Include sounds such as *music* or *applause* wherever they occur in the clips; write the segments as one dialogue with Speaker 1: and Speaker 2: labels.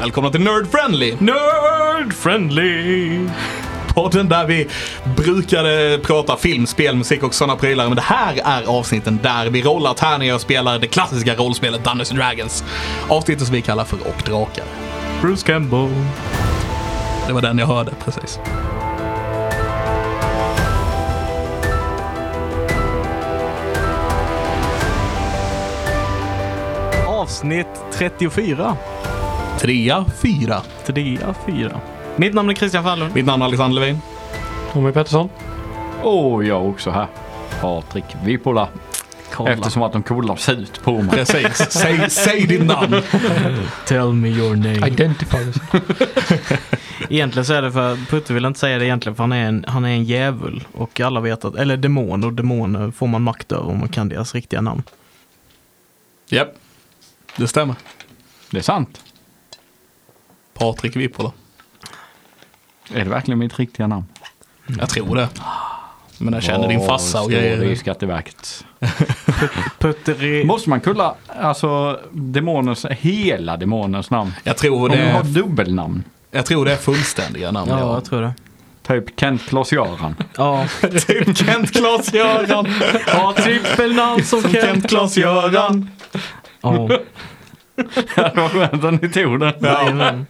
Speaker 1: Välkomna till Nerd Friendly!
Speaker 2: Nerd friendly!
Speaker 1: Podden där vi brukade prata film, spel, musik och sådana prylar. Men det här är avsnitten där vi rollar tärningar och spelar det klassiska rollspelet Dungeons and Dragons. Avsnittet som vi kallar för Och Drakar.
Speaker 2: Bruce Campbell.
Speaker 1: Det var den jag hörde precis.
Speaker 2: Avsnitt 34.
Speaker 1: Trea, fyra.
Speaker 2: 34. Mitt namn är Christian Fallon.
Speaker 1: Mitt namn är Alexander Levin.
Speaker 3: Tommy Pettersson.
Speaker 4: Och jag också här. Patrik Vipola. Eftersom att de kollar ut på mig.
Speaker 1: Precis. Säg, säg ditt namn.
Speaker 2: Tell me your name.
Speaker 3: Identify yourself.
Speaker 5: *laughs* Egentligen så är det för, Putte vill inte säga det egentligen för han är en, han är en djävul. Och alla vet att, eller demon, och demoner får man makt över om man kan deras riktiga namn.
Speaker 1: Japp. Det stämmer.
Speaker 4: Det är sant.
Speaker 1: Patrik Vipola.
Speaker 4: Är det verkligen mitt riktiga namn?
Speaker 1: Jag tror det. Men jag känner din farsa och
Speaker 4: grejer. i
Speaker 1: grejer.
Speaker 4: Skatteverket.
Speaker 5: Putteri...
Speaker 4: Måste man kolla alltså demonens, hela demonens namn?
Speaker 1: Jag tror
Speaker 4: Om
Speaker 1: det
Speaker 4: du har
Speaker 1: är,
Speaker 4: dubbelnamn.
Speaker 1: jag tror det är fullständiga namn.
Speaker 5: Ja, jag tror det.
Speaker 4: Typ Kent *laughs* Klas-Göran.
Speaker 5: Ja.
Speaker 1: Typ Kent Klas-Göran.
Speaker 5: Ha trippelnamn som Kent Klas Göran. Ja.
Speaker 4: det var skönt att ni tog den.
Speaker 5: jajamän.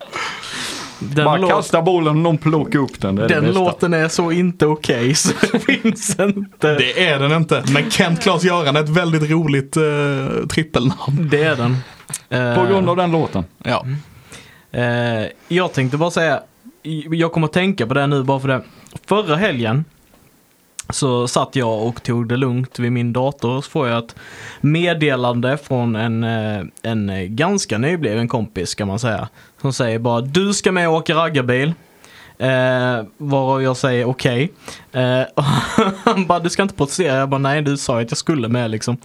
Speaker 4: Bara
Speaker 5: Den, låt,
Speaker 4: kasta bollen och någon plockar upp den. Det är det
Speaker 5: den
Speaker 4: bästa.
Speaker 5: låten är så inte okej så *laughs* det finns inte. Det,
Speaker 1: Det är den inte. Men Kent Klas-Göran är ett väldigt roligt eh, trippelnamn.
Speaker 5: är den.
Speaker 4: På grund av den låten.
Speaker 1: Ja.
Speaker 5: Eh, jag tänkte bara säga, jag kommer att tänka på det nu bara för det. Förra helgen så satt jag och tog det lugnt vid min dator och så får jag ett meddelande från en, eh, en ganska nybliven kompis kan man säga. Som säger bara du ska med och åka raggarbil. Eh, varav jag säger okej. Eh, *laughs* och han bara du ska inte protestera. Jag bara nej du sa ju att jag skulle med liksom.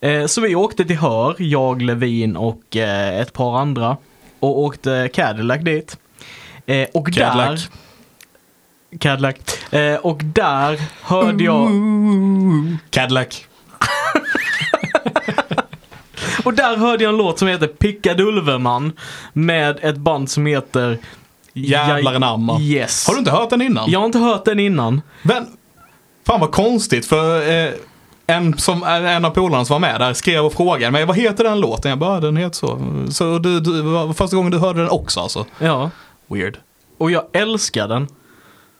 Speaker 5: Eh, så vi åkte till Hör, jag, Levin och eh, ett par andra. Och åkte Cadillac dit. Eh, och
Speaker 1: Cadillac.
Speaker 5: där... Cadillac. Eh, och där hörde jag...
Speaker 1: Cadillac.
Speaker 5: Och där hörde jag en låt som heter Pickadulverman med ett band som heter
Speaker 1: Jävlar anamma.
Speaker 5: Yes.
Speaker 1: Har du inte hört den innan?
Speaker 5: Jag har inte hört den innan.
Speaker 1: Men, fan vad konstigt för eh, en, som, en av polarna som var med där skrev och frågade mig vad heter den låten? Jag bara, den heter så. Så du, du, var första gången du hörde den också alltså?
Speaker 5: Ja.
Speaker 1: Weird.
Speaker 5: Och jag älskar den.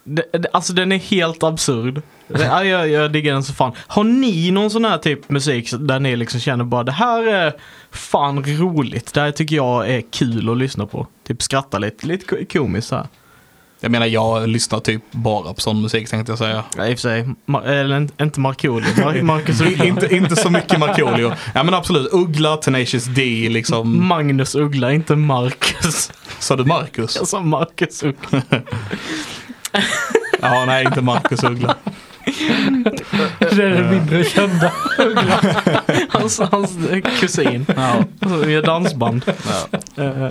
Speaker 5: Det- det- Alltså den är helt absurd. Det- ja, Jag, jag diggar den så fan. Har ni någon sån här typ musik så- där ni liksom känner bara det här är fan roligt. Det här tycker jag är kul att lyssna på. Typ skratta lite, lite ko- komiskt så här.
Speaker 1: Jag menar jag lyssnar typ bara på sån musik tänkte jag säga.
Speaker 5: Ja, i och för sig. Mar- eller inte- inte Markoolio. Mar-
Speaker 1: *laughs*
Speaker 5: Marcus Uggla.
Speaker 1: inte, inte så mycket Markoolio. Ja men absolut, Uggla, Tenacious D liksom.
Speaker 5: Magnus Uggla, inte Marcus.
Speaker 1: Sa du *laughs* Marcus?
Speaker 5: Jag sa Marcus Uggla.
Speaker 1: Ja, nej inte Marcus Uggla.
Speaker 3: Det är den mindre kända. *laughs*
Speaker 5: Hans, hans eh, kusin.
Speaker 1: Ja.
Speaker 5: Alltså, Vi gör dansband. Eh,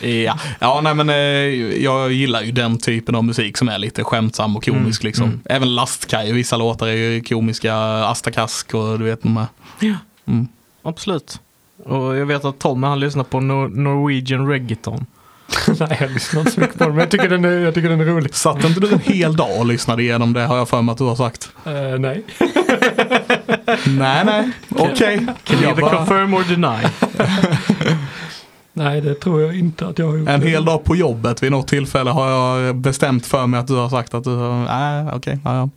Speaker 1: Ja, ja nej, men eh, jag gillar ju den typen av musik som är lite skämtsam och komisk liksom. Även Lastkaj, vissa låtar är ju komiska, Asta Kask och du vet de här.
Speaker 5: Absolut. Och jag vet att Tom, han lyssnar på Nor- Norwegian reggaeton.
Speaker 3: Nej, jag lyssnar inte så mycket på den. Men jag tycker den är, jag tycker den är rolig.
Speaker 1: Satt inte du en hel dag och lyssnade igenom det har jag för mig att du har sagt.
Speaker 3: Eh, nej.
Speaker 1: Nej, nej, okej. Jag
Speaker 5: Either
Speaker 1: bara-
Speaker 5: confirm or deny.
Speaker 3: Nej, det tror jag inte att jag har gjort.
Speaker 1: En hel dag på jobbet vid något tillfälle har jag bestämt för mig att du har sagt att du har, nej okej, ja, ja.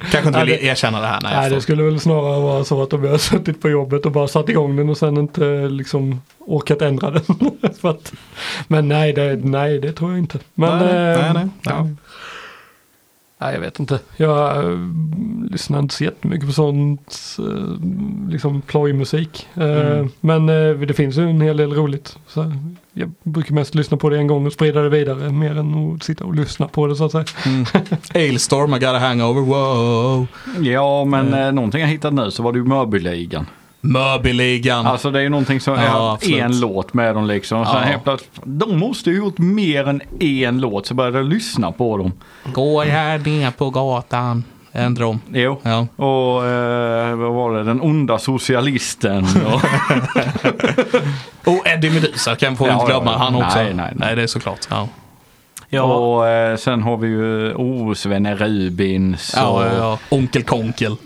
Speaker 1: Kanske inte
Speaker 3: Nej,
Speaker 1: vill erkänna det här. Nej, jag
Speaker 3: Nej, det
Speaker 1: förstår.
Speaker 3: skulle väl snarare vara så att om jag har *laughs* suttit på jobbet och bara satt igång den och sen inte eh, liksom orkat ändra den. *laughs* För att, men nej det, nej, det tror jag inte. Men,
Speaker 1: nej, nej,
Speaker 3: eh,
Speaker 1: nej,
Speaker 3: ja.
Speaker 1: nej.
Speaker 3: Nej, jag vet inte. Jag eh, lyssnar inte så jättemycket på sånt eh, liksom plojmusik. Eh,
Speaker 1: Mm.
Speaker 3: Men eh, det finns ju en hel del roligt. Så jag brukar mest lyssna på det en gång och sprida det vidare mer än att sitta och lyssna på det så att säga.
Speaker 1: Ailstorm, I got a hangover, wow.
Speaker 4: Ja, men eh, någonting jag hittat nu så var det ju Mörbyligan.
Speaker 1: Mörbyligan.
Speaker 4: Alltså det är ju någonting som
Speaker 1: Ja,
Speaker 4: jag har haft
Speaker 1: absolut.
Speaker 4: en låt med dem liksom. Och sen
Speaker 1: Ja.
Speaker 4: helt plötsligt, de måste ju gjort mer än en låt så började jag lyssna på dem.
Speaker 1: Går här ner på gatan. Ändra om.
Speaker 4: Jo.
Speaker 1: Ja.
Speaker 4: Och eh, vad var det? Den onda socialisten. Och,
Speaker 1: Och Eddie Meduza kan vi
Speaker 4: Ja,
Speaker 1: inte
Speaker 4: ja,
Speaker 1: glömma.
Speaker 4: ja.
Speaker 1: Han också.
Speaker 4: Nej, nej, nej.
Speaker 1: det är såklart. *laughs* Ja.
Speaker 5: Ja,
Speaker 4: och eh, sen har vi ju oh, Svenne Rubins.
Speaker 1: Ja,
Speaker 4: och,
Speaker 1: eh, ja, ja. Onkel Konkel.
Speaker 4: eh,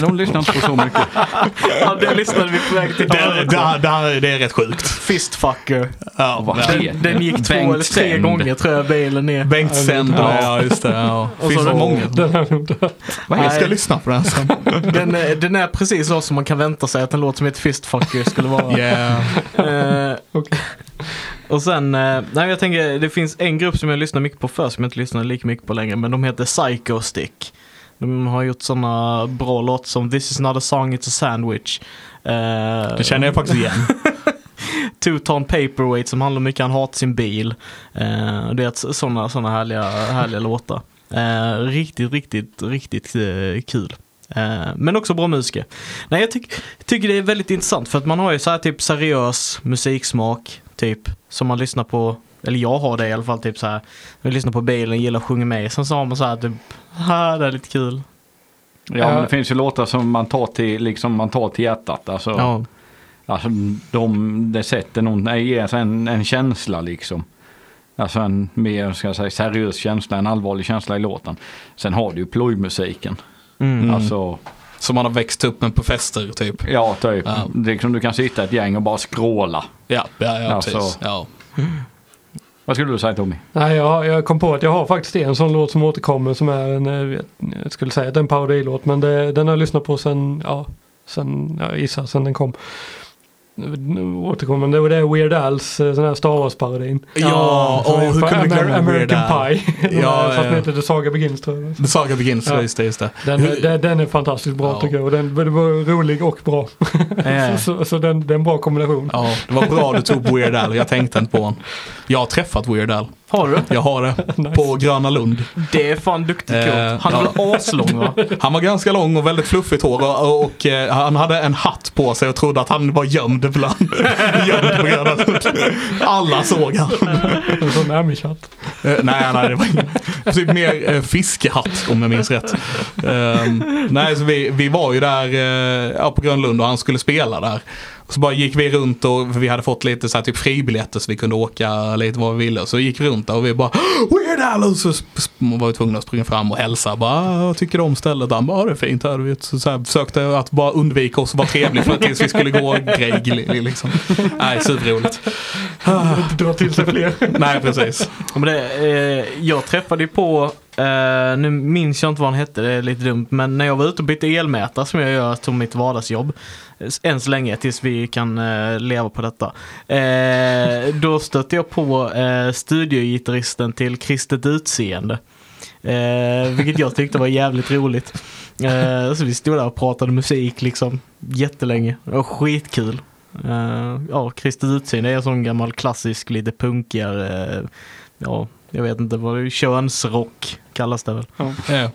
Speaker 4: De lyssnar inte på
Speaker 1: *laughs*
Speaker 4: så mycket.
Speaker 5: *laughs* ja det lyssnade vi på väg till.
Speaker 1: Det, det, det, här- det är rätt sjukt.
Speaker 5: Fistfucker.
Speaker 1: Ja,
Speaker 4: Vad
Speaker 1: ja.
Speaker 4: heter
Speaker 5: Den gick två
Speaker 4: Bengt
Speaker 5: eller tre
Speaker 4: Sänd.
Speaker 5: gånger tror jag bilen *laughs* ner.
Speaker 1: Bengt Sänd. Ja, ja, just det. Ja.
Speaker 5: Och
Speaker 1: Finns
Speaker 5: så-
Speaker 1: det många?
Speaker 3: Den har jag nog dött.
Speaker 1: Jag ska
Speaker 5: Nej.
Speaker 1: lyssna på den sen.
Speaker 5: Den, är- den är precis så som man kan vänta sig att en låt som heter Fistfucker skulle vara.
Speaker 1: Yeah.
Speaker 5: Eh, Och sen, eh, nej jag tänker, det finns en grupp som jag lyssnar mycket på förr som jag inte lyssnar lika mycket på längre, men de heter Psycho Stick. De har gjort sådana bra låtar som This is not a song, it's a sandwich. Eh,
Speaker 1: Det känner jag faktiskt igen.
Speaker 5: Two Ton Paperweight som handlar om hur mycket han hatar sin bil. Eh, det är sådana såna härliga, härliga låtar. Eh, riktigt, riktigt, riktigt eh, kul. Eh, men också bra musiker. Nej, jag tyck, tycker det är väldigt intressant för att man har ju så här typ seriös musiksmak typ som man lyssnar på eller jag har det i alla fall, typ så här. Jag lyssnar på bilen, gillar att sjunga med. Sen så har man så här typ, här det är lite kul.
Speaker 4: Ja, men det finns ju låtar som man tar till, liksom, man tar till hjärtat. Alltså,
Speaker 5: Ja.
Speaker 4: alltså de, det sätter någon, det ger en, en känsla liksom. Alltså en mer, ska jag säga, seriös känsla, en allvarlig känsla i låten. Sen har du ju plojmusiken.
Speaker 5: Mm.
Speaker 4: Alltså,
Speaker 1: Som man har växt upp med på fester, typ.
Speaker 4: ja typ.
Speaker 1: Ja.
Speaker 4: Det är Liksom, du kan sitta ett gäng och bara skråla.
Speaker 1: Ja, ja, ja,
Speaker 4: Ja,
Speaker 1: precis.
Speaker 4: så.
Speaker 1: Ja.
Speaker 4: Vad skulle du säga Tommy?
Speaker 3: Nej, jag, jag kom på att jag har faktiskt en sån låt som återkommer som är en, eh, vet- jag skulle säga att det är en parodilåt, men det, den har jag lyssnat på sen, ja, sen, jag gissar sen den kom. Nu återkommer, det var det Weird Al's eh, sån här Star Wars-parodin.
Speaker 1: Ja,
Speaker 3: Som
Speaker 1: och
Speaker 3: är
Speaker 1: hur
Speaker 3: på
Speaker 1: kunde vi glömma Weird
Speaker 3: American
Speaker 1: Al? *laughs*
Speaker 3: Pie. Den
Speaker 1: Ja,
Speaker 3: här, fast den
Speaker 1: ja.
Speaker 3: heter The Saga Begins tror jag.
Speaker 1: The Saga Begins,
Speaker 3: Ja.
Speaker 1: just det. Just det.
Speaker 3: Den,
Speaker 1: Hur-
Speaker 3: den, den är fantastiskt bra
Speaker 1: Ja.
Speaker 3: tycker jag och den, den var rolig och bra.
Speaker 4: *laughs*
Speaker 5: Eh,
Speaker 3: *laughs* så så den, den är en bra kombination.
Speaker 1: Ja, det var bra du tog Weird Al. Jag tänkte inte på honom. Jag har träffat Weird Al.
Speaker 5: har du?
Speaker 1: Jag har det. På Gröna Lund.
Speaker 5: Det är fan duktigt
Speaker 1: Eh,
Speaker 5: gjort. Han är
Speaker 1: ja.
Speaker 5: väl aslång va?
Speaker 1: Han var ganska lång och väldigt fluffigt hår och, och, eh, han hade en hatt på sig och trodde att han var gömd bland *laughs* gömd på Gröna Lund. Alla såg han.
Speaker 3: En sån Amish-hatt.
Speaker 1: Eh, nej, nej, det var ingen. Typ mer eh, fiskehatt om jag minns rätt. Ehm, nej, så vi, vi var ju där eh, ja, på Grönlund och han skulle spela där. Så bara gick vi runt och för vi hade fått lite så här, typ fribiljetter så vi kunde åka lite vad vi ville. Så gick vi runt där och vi bara Weird Al! Och så sp- sp- var vi tvungna att springa fram och hälsa. Bara, "Ah, vad tycker du om stället? Han bara, "Ja, det är fint här. du Vet. Så, så här, försökte att bara undvika oss och vara trevlig för tills vi skulle gå grej li- liksom. Nej, superroligt.
Speaker 3: Dra till sig fler.
Speaker 1: Nej, precis.
Speaker 5: Ja, Men det, eh, jag träffade ju på, eh, nu minns jag inte vad han hette, det är lite dumt, men när jag var ute och bytte elmätare som jag gör som mitt vardagsjobb, eh, än så länge tills vi kan eh, leva på detta, eh, då stötte jag på eh, studiogitarristen till Kristet Utseende. Eh, vilket jag tyckte var jävligt roligt. Eh, så vi stod där och pratade musik liksom jättelänge. Det var skitkul. Eh, ja, Kristet Utseende är en sån gammal klassisk lite punkigare eh, ja, jag vet inte vad det är, könsrock kallas det väl?
Speaker 1: Ja.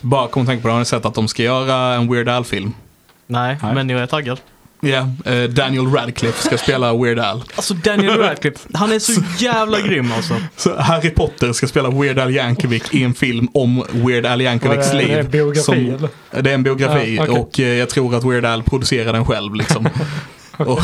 Speaker 1: Bara kom att tänka på det, har ni sett att de ska göra en Weird Al-film?
Speaker 5: Nej,
Speaker 4: Nej.
Speaker 5: men jag är taggad.
Speaker 1: Ja, eh, Daniel Radcliffe ska spela Weird Al.
Speaker 5: Alltså Daniel Radcliffe, han är *laughs* så jävla grym alltså.
Speaker 1: Så Harry Potter ska spela Weird Al Yankovic i en film om Weird Al Yankovics
Speaker 3: Vad är det?
Speaker 1: liv.
Speaker 3: Det är en biografi, eller?
Speaker 1: Det är en biografi
Speaker 3: Ja, okej.
Speaker 1: och eh, jag tror att Weird Al producerar den själv
Speaker 3: *laughs*
Speaker 1: liksom. och,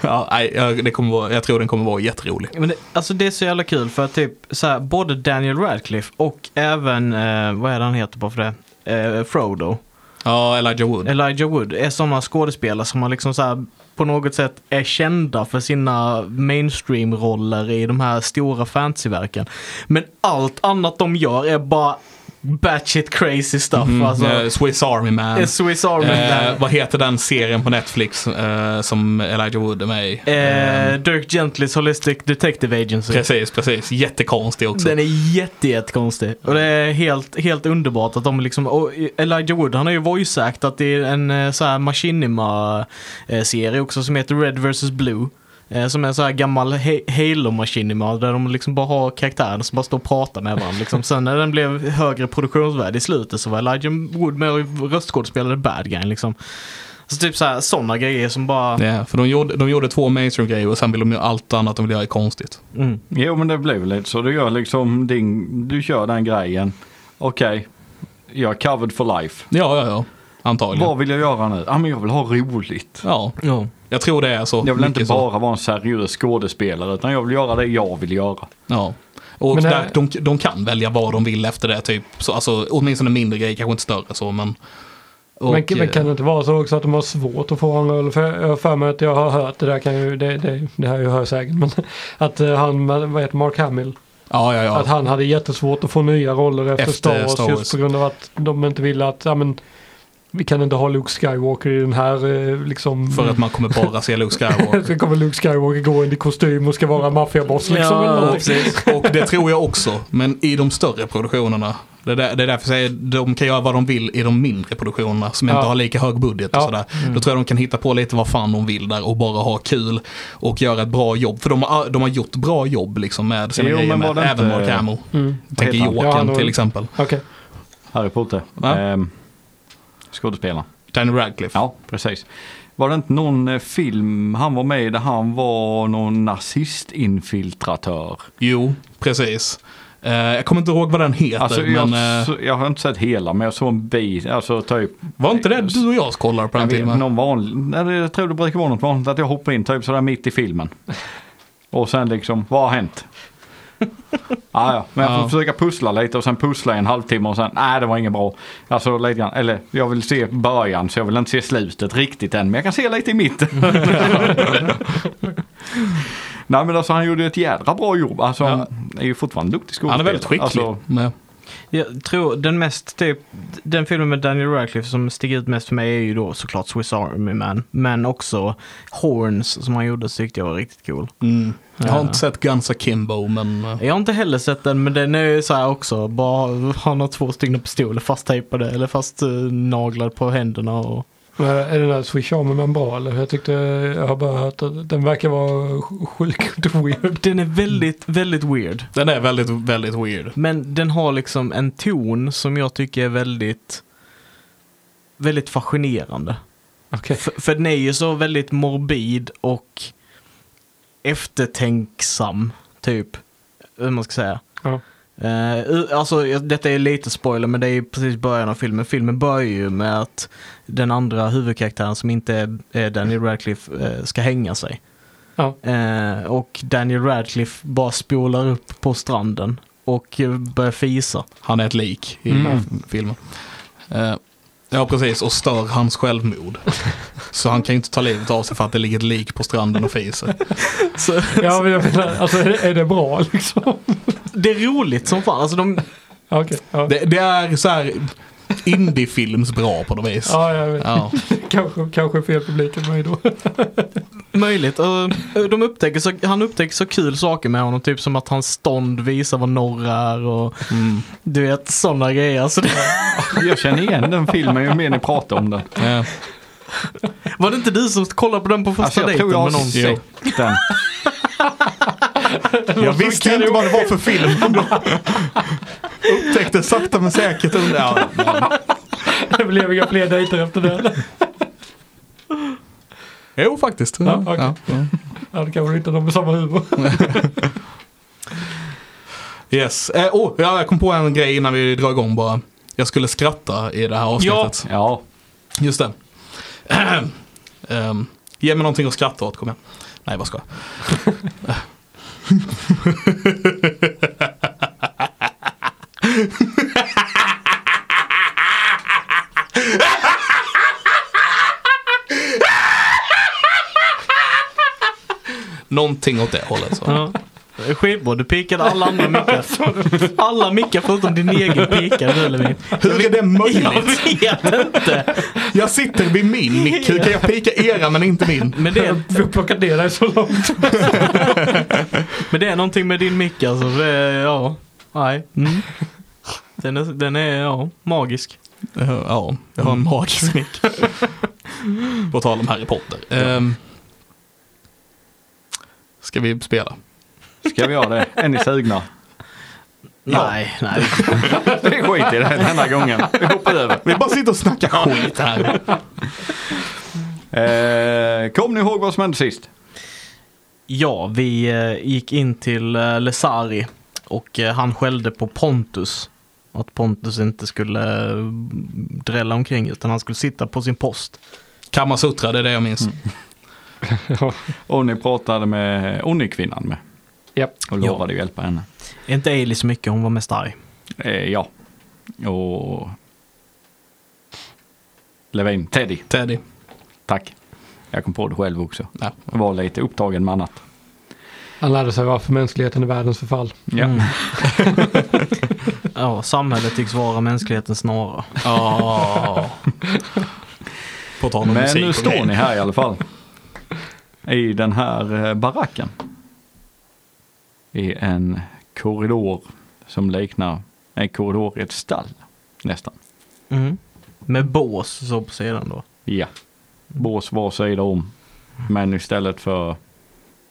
Speaker 1: ja, nej, ja, det kommer vara, jag tror den kommer vara jätterolig.
Speaker 5: Men det, alltså det är så jävla kul för att typ så här, både Daniel Radcliffe och även, eh, vad är det han heter bara för det? Eh, Frodo,
Speaker 1: Ja, Elijah Wood.
Speaker 5: Elijah Wood, är sådana skådespelare som man liksom så här, på något sätt är kända för sina mainstream-roller i de här stora fantasyverken. Men allt annat de gör är bara batshit crazy stuff.
Speaker 1: Mm,
Speaker 5: alltså.
Speaker 1: eh, Swiss Army Man.
Speaker 5: Eh, Swiss Army Man.
Speaker 1: Eh, vad heter den serien på Netflix eh, som Elijah Wood är med i?
Speaker 5: Eh, Dirk Gentlys Holistic Detective Agency.
Speaker 3: typ.
Speaker 1: Precis, precis. Jättekonstig också.
Speaker 5: Den är jätte, jätte konstig. Och det är helt, helt underbart att de liksom, och Elijah Wood han har ju voice-act att det är en eh, så här Machinima-serie också som heter Red vs Blue. eh, Som är en så här gammal he- Halo Machinima där de liksom bara har karaktärer som bara står och pratar med varandra. Liksom. Sen när den blev högre produktionsvärde i slutet så var Elijah Wood med och röstskådespelade bad guy liksom. Så typ såhär sådana grejer som bara...
Speaker 1: Ja, för de gjorde, de gjorde två mainstream-grejer och sen ville de göra allt annat de ville göra är konstigt.
Speaker 5: Mm.
Speaker 4: Jo men det blev lite så. Du gör liksom din, du kör den grejen. Okej, jag är covered for life.
Speaker 1: Ja, ja, ja. Antagligen.
Speaker 4: Vad vill jag göra nu? Ja, men jag vill ha roligt.
Speaker 1: Ja,
Speaker 5: Ja.
Speaker 1: jag tror det är så.
Speaker 4: Jag vill inte
Speaker 1: mycket så.
Speaker 4: bara vara en seriös skådespelare utan jag vill göra det jag vill göra.
Speaker 1: Ja. Och
Speaker 3: Men det-
Speaker 1: där, de, de kan välja vad de vill efter det, typ. Så, alltså, åtminstone mindre grejer, kanske inte större så, men... och,
Speaker 3: men, men kan
Speaker 1: eh,
Speaker 3: det inte vara så också att de har svårt att få en roll? För jag har för mig att jag har hört, det där kan ju, det, det, det här är ju hörsägen, men *laughs* att eh, han, vad heter Mark Hamill,
Speaker 1: Ja, ja, ja.
Speaker 3: att han hade jättesvårt att få nya roller efter,
Speaker 1: Efter
Speaker 3: Star, Wars,
Speaker 1: Star Wars.
Speaker 3: just på grund av att de inte ville att, ja men vi kan inte ha Luke Skywalker i den här eh, liksom.
Speaker 1: För att man kommer bara se Luke
Speaker 3: *laughs*
Speaker 1: Skywalker.
Speaker 3: så kommer Luke Skywalker gå in i kostym och ska vara maffiaboss liksom. eller
Speaker 1: Och,
Speaker 3: någonting.
Speaker 1: och det tror jag också, men i de större produktionerna. Det är, där, det är därför jag säger de kan göra vad de vill i de mindre produktionerna som
Speaker 3: Ja.
Speaker 1: inte har lika hög budget och
Speaker 3: Ja. Mm.
Speaker 1: sådär. Då tror jag de kan hitta på lite vad fan de vill där och bara ha kul och göra ett bra jobb. För de har, de har gjort bra jobb liksom med sina
Speaker 4: Jo,
Speaker 1: grejer,
Speaker 4: men
Speaker 1: med,
Speaker 4: var det
Speaker 1: även
Speaker 4: inte-
Speaker 1: Mark Hamill.
Speaker 3: Mm.
Speaker 1: Jag tänker
Speaker 4: heter han?
Speaker 1: Jokern
Speaker 3: Ja, han har-
Speaker 1: till exempel.
Speaker 3: Okej.
Speaker 4: Harry Potter.
Speaker 1: Va?
Speaker 4: Ehm, skådespelaren.
Speaker 1: Daniel Radcliffe.
Speaker 4: Ja, precis. Var det inte någon eh, film han var med i där han var någon nazistinfiltratör?
Speaker 1: Jo, precis. Eh, jag kommer inte ihåg vad den heter,
Speaker 4: Alltså,
Speaker 1: men
Speaker 4: jag,
Speaker 1: eh,
Speaker 4: så- jag har inte sett hela men jag såg en bit, alltså typ.
Speaker 1: var inte det du och jag kollade på
Speaker 4: Jag,
Speaker 1: den
Speaker 4: vet,
Speaker 1: filmen?
Speaker 4: någon vanlig, nej, det- jag tror det brukar vara något vanligt att jag hoppar in typ sådär mitt i filmen. Och sen liksom, vad
Speaker 1: *laughs*
Speaker 4: har hänt? Ah, ja, men jag får
Speaker 1: Ja.
Speaker 4: försöka pussla lite och sen pussla i en halvtimme och sen, nej det var inget bra. Alltså lite grann, eller jag vill se början så jag vill inte se slutet riktigt än men jag kan se lite
Speaker 1: *laughs*
Speaker 4: i mitten. nej men alltså han gjorde ju ett jädra bra jobb. Alltså han är ju fortfarande duktig skådespelare.
Speaker 1: Han är väldigt skicklig.
Speaker 4: Alltså,
Speaker 1: Men-
Speaker 5: Jag tror den mest typ, den filmen med Daniel Radcliffe som sticker ut mest för mig är ju då såklart Swiss Army Man. Men också Horns som han gjorde så tyckte jag var riktigt cool.
Speaker 1: Mm. Jag har
Speaker 5: Ja.
Speaker 1: inte sett Guns Akimbo, men... eh,
Speaker 5: Jag har inte heller sett den men den är ju så här också. Bara, han har två stycken pistoler fasttejpade eller fast eh, naglad på händerna. Och,
Speaker 3: Men eh, Är den där Swish Army Man bra eller? Jag tyckte, jag har bara hört att den verkar vara sj- sjukt *laughs* weird.
Speaker 5: den är väldigt, väldigt weird.
Speaker 1: Den är väldigt, väldigt weird.
Speaker 5: Men den har liksom en ton som jag tycker är väldigt, väldigt fascinerande.
Speaker 3: Okej.
Speaker 5: För, för den är ju så väldigt morbid och eftertänksam, typ. Hur man ska säga.
Speaker 3: Ja.
Speaker 5: Eh, u- alltså, jag- detta är lite spoiler, men det är ju precis början av filmen. Filmen börjar ju med att den andra huvudkaraktären som inte är, är Daniel Radcliffe eh, ska hänga sig.
Speaker 3: Ja.
Speaker 5: Eh, och Daniel Radcliffe bara spolar upp på stranden och eh, börjar fisa.
Speaker 1: Han är ett lik i filmen. Eh, ja, precis. Och stör hans *laughs* självmord. Så han kan ju inte ta livet av sig för att det ligger ett lik på stranden och fiser.
Speaker 5: Så,
Speaker 3: Ja men jag menar, alltså är det, är det bra liksom?
Speaker 5: det är roligt som fan. Alltså, de,
Speaker 3: Ja, Okej. Ja.
Speaker 1: Det, det är så här indiefilms bra på något vis.
Speaker 3: Ja, jag vet.
Speaker 1: Ja.
Speaker 3: Kanske, kanske fel publik än mig då. *laughs*
Speaker 5: Möjligt. Eh, De upptäcker så, han upptäcker så kul saker med honom, typ som att hans stånd visar vad norr är och
Speaker 1: Mm.
Speaker 5: du vet sådana grejer. Så det,
Speaker 4: *laughs* jag känner igen den filmen ju mer ni pratar om den.
Speaker 1: Ja.
Speaker 5: var det inte du som kollade på den på första
Speaker 4: Alltså jag
Speaker 5: dejten
Speaker 4: tror jag har
Speaker 5: med någon?
Speaker 4: sett den.
Speaker 1: Jag visste inte vad det var för film. Upptäckte sakta men säkert under... Ja, men-
Speaker 3: Det blev inga fler dejter efter det.
Speaker 1: Jo, faktiskt.
Speaker 3: Ja, okej.
Speaker 1: Ja.
Speaker 3: Ja, det kanske inte de med samma humor.
Speaker 1: Yes. Eh, oh, ja, jag kom på en grej innan vi drar igång bara. Jag skulle skratta i det här avsnittet.
Speaker 4: *laughs* Ja,
Speaker 1: Just det. *clears throat* Ehm, ge mig någonting att skratta åt, kom igen. Nej, vad ska jag? Någonting åt det hållet. Så.
Speaker 5: Ja. Skitbra, du pikade alla andra
Speaker 4: *laughs*
Speaker 5: mickar. Alla mickar förutom din egen pikade du
Speaker 4: *laughs*
Speaker 5: Levin.
Speaker 1: Hur är det
Speaker 5: Jag
Speaker 1: möjligt?
Speaker 5: vet inte.
Speaker 1: Jag sitter vid min mick. Hur kan jag pika era men inte min?
Speaker 5: Men det, är,
Speaker 3: *laughs* Vi har plockat ner dig så långt.
Speaker 5: men det är någonting med din mick alltså. Det är, ja. Nej. Mm. Den är, den är ja, magisk.
Speaker 1: Eh, Ja, jag har en magisk mick. *laughs* På tal om Harry Potter. Ehm, ska vi spela?
Speaker 4: ska vi göra det? Är ni sugna?
Speaker 5: Nej, nej.
Speaker 4: Det är skit i det här denna gången. Vi hoppar över.
Speaker 1: Vi bara sitter och snackar skit här.
Speaker 4: Eh, kom ni ihåg vad som hände sist?
Speaker 5: Ja, vi eh, gick in till eh, Lesari och eh, han skällde på Pontus. Att Pontus inte skulle eh, drälla omkring utan han skulle sitta på sin post.
Speaker 1: Kamasutra, det är det jag minns.
Speaker 3: Ja.
Speaker 4: Och ni pratade med Onni-kvinnan med
Speaker 3: Ja.
Speaker 5: Ja.
Speaker 4: och lovade att hjälpa henne.
Speaker 5: Inte Ailey så mycket, hon var mest arg.
Speaker 4: Eh, ja. Och... Levin, Teddy,
Speaker 1: Teddy.
Speaker 4: tack. Jag kom på det själv också.
Speaker 1: Ja.
Speaker 4: Jag var lite upptagen med annat.
Speaker 3: Han lärde sig varför mänskligheten är världens förfall. *laughs*
Speaker 4: Ja.
Speaker 5: Mm. ja, samhället tycks vara mänsklighetens snara.
Speaker 1: Oh. På tal om
Speaker 4: Men
Speaker 1: musik.
Speaker 4: nu
Speaker 1: och
Speaker 4: står
Speaker 1: grejer.
Speaker 4: ni här i alla fall. I den här eh, baracken. I en korridor som liknar en korridor i ett stall. Nästan.
Speaker 5: Mm. Med bås så på sidan då.
Speaker 4: Ja. Bås var sida om. Men istället för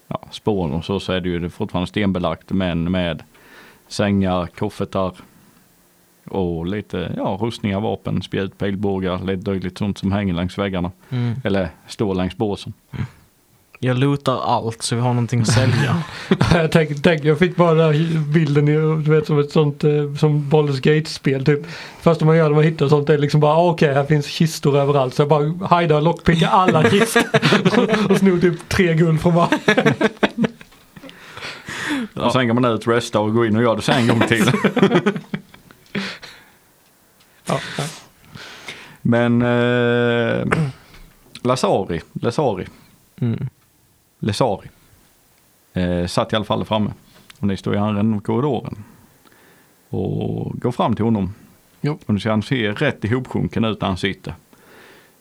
Speaker 4: ja, spån och så, så är det ju det fortfarande stenbelagt men med sängar, koffertar och lite ja, rustningar, vapen, spjut, pilbågar, lite dylikt sånt som hänger längs väggarna.
Speaker 5: Mm.
Speaker 4: Eller står längs båsen.
Speaker 5: Jag lutar allt så vi har någonting att sälja.
Speaker 3: jag, tänk, tänk, jag fick bara den här bilden i- du vet, som ett sånt eh, som Baldur's Gate-spel typ. Första man gör när man hittar sånt är liksom bara ah, okej här finns kistor överallt. Så jag bara hajdar och lockpickar alla kistor. *laughs* och, och snor typ tre guld från varje.
Speaker 4: Och sen går man ut, restar och går in och gör det sen en gång till.
Speaker 3: Ja, ja.
Speaker 4: Men eh, Lasari, Lasari,
Speaker 5: *laughs* Mm.
Speaker 4: Lasari eh, satt i alla fall framme. Och ni står i andra änden av korridoren. Och går fram till honom.
Speaker 3: Jo.
Speaker 4: Och ni ser han ser rätt ihopsjunken ut där han sitter.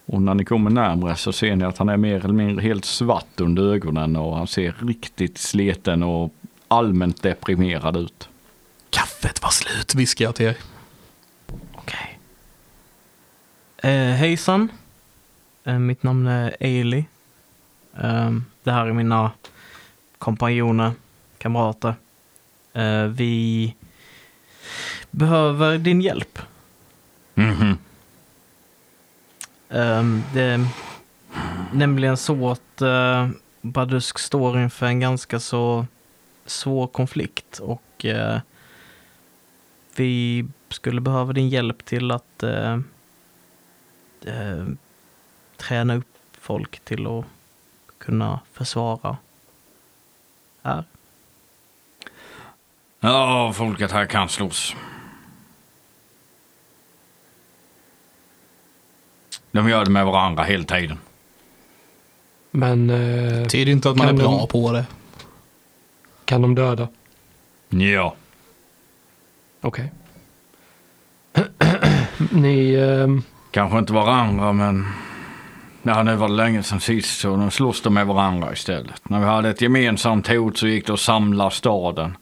Speaker 4: Och när ni kommer närmare så ser ni att han är mer eller mindre helt svart under ögonen och han ser riktigt sliten och allmänt deprimerad ut.
Speaker 1: Kaffet var slut, viskar jag till er.
Speaker 5: Okej. Eh, hejsan. Eh, mitt namn är Ailey. Ehm, det här är mina kompanjoner, kamrater. Eh, vi behöver din hjälp. Ehm, det är nämligen så att eh, Badusk står inför en ganska så svår konflikt och eh, vi skulle behöva din hjälp till att eh, eh, träna upp folk till att kunna försvara här.
Speaker 4: Ja, folket här kan slåss. De gör det med varandra hela tiden.
Speaker 3: Men eh,
Speaker 1: Tyder ju inte att man
Speaker 3: Kan
Speaker 1: är bra
Speaker 3: de-
Speaker 1: på det.
Speaker 3: kan de döda?
Speaker 4: Ja.
Speaker 3: Okej. *clears throat* Ni, ehm,
Speaker 4: Kanske inte varandra, men... Ja, nu var det länge sedan sist, så nu slåss de med varandra istället. När vi hade ett gemensamt hot så gick det att samla staden.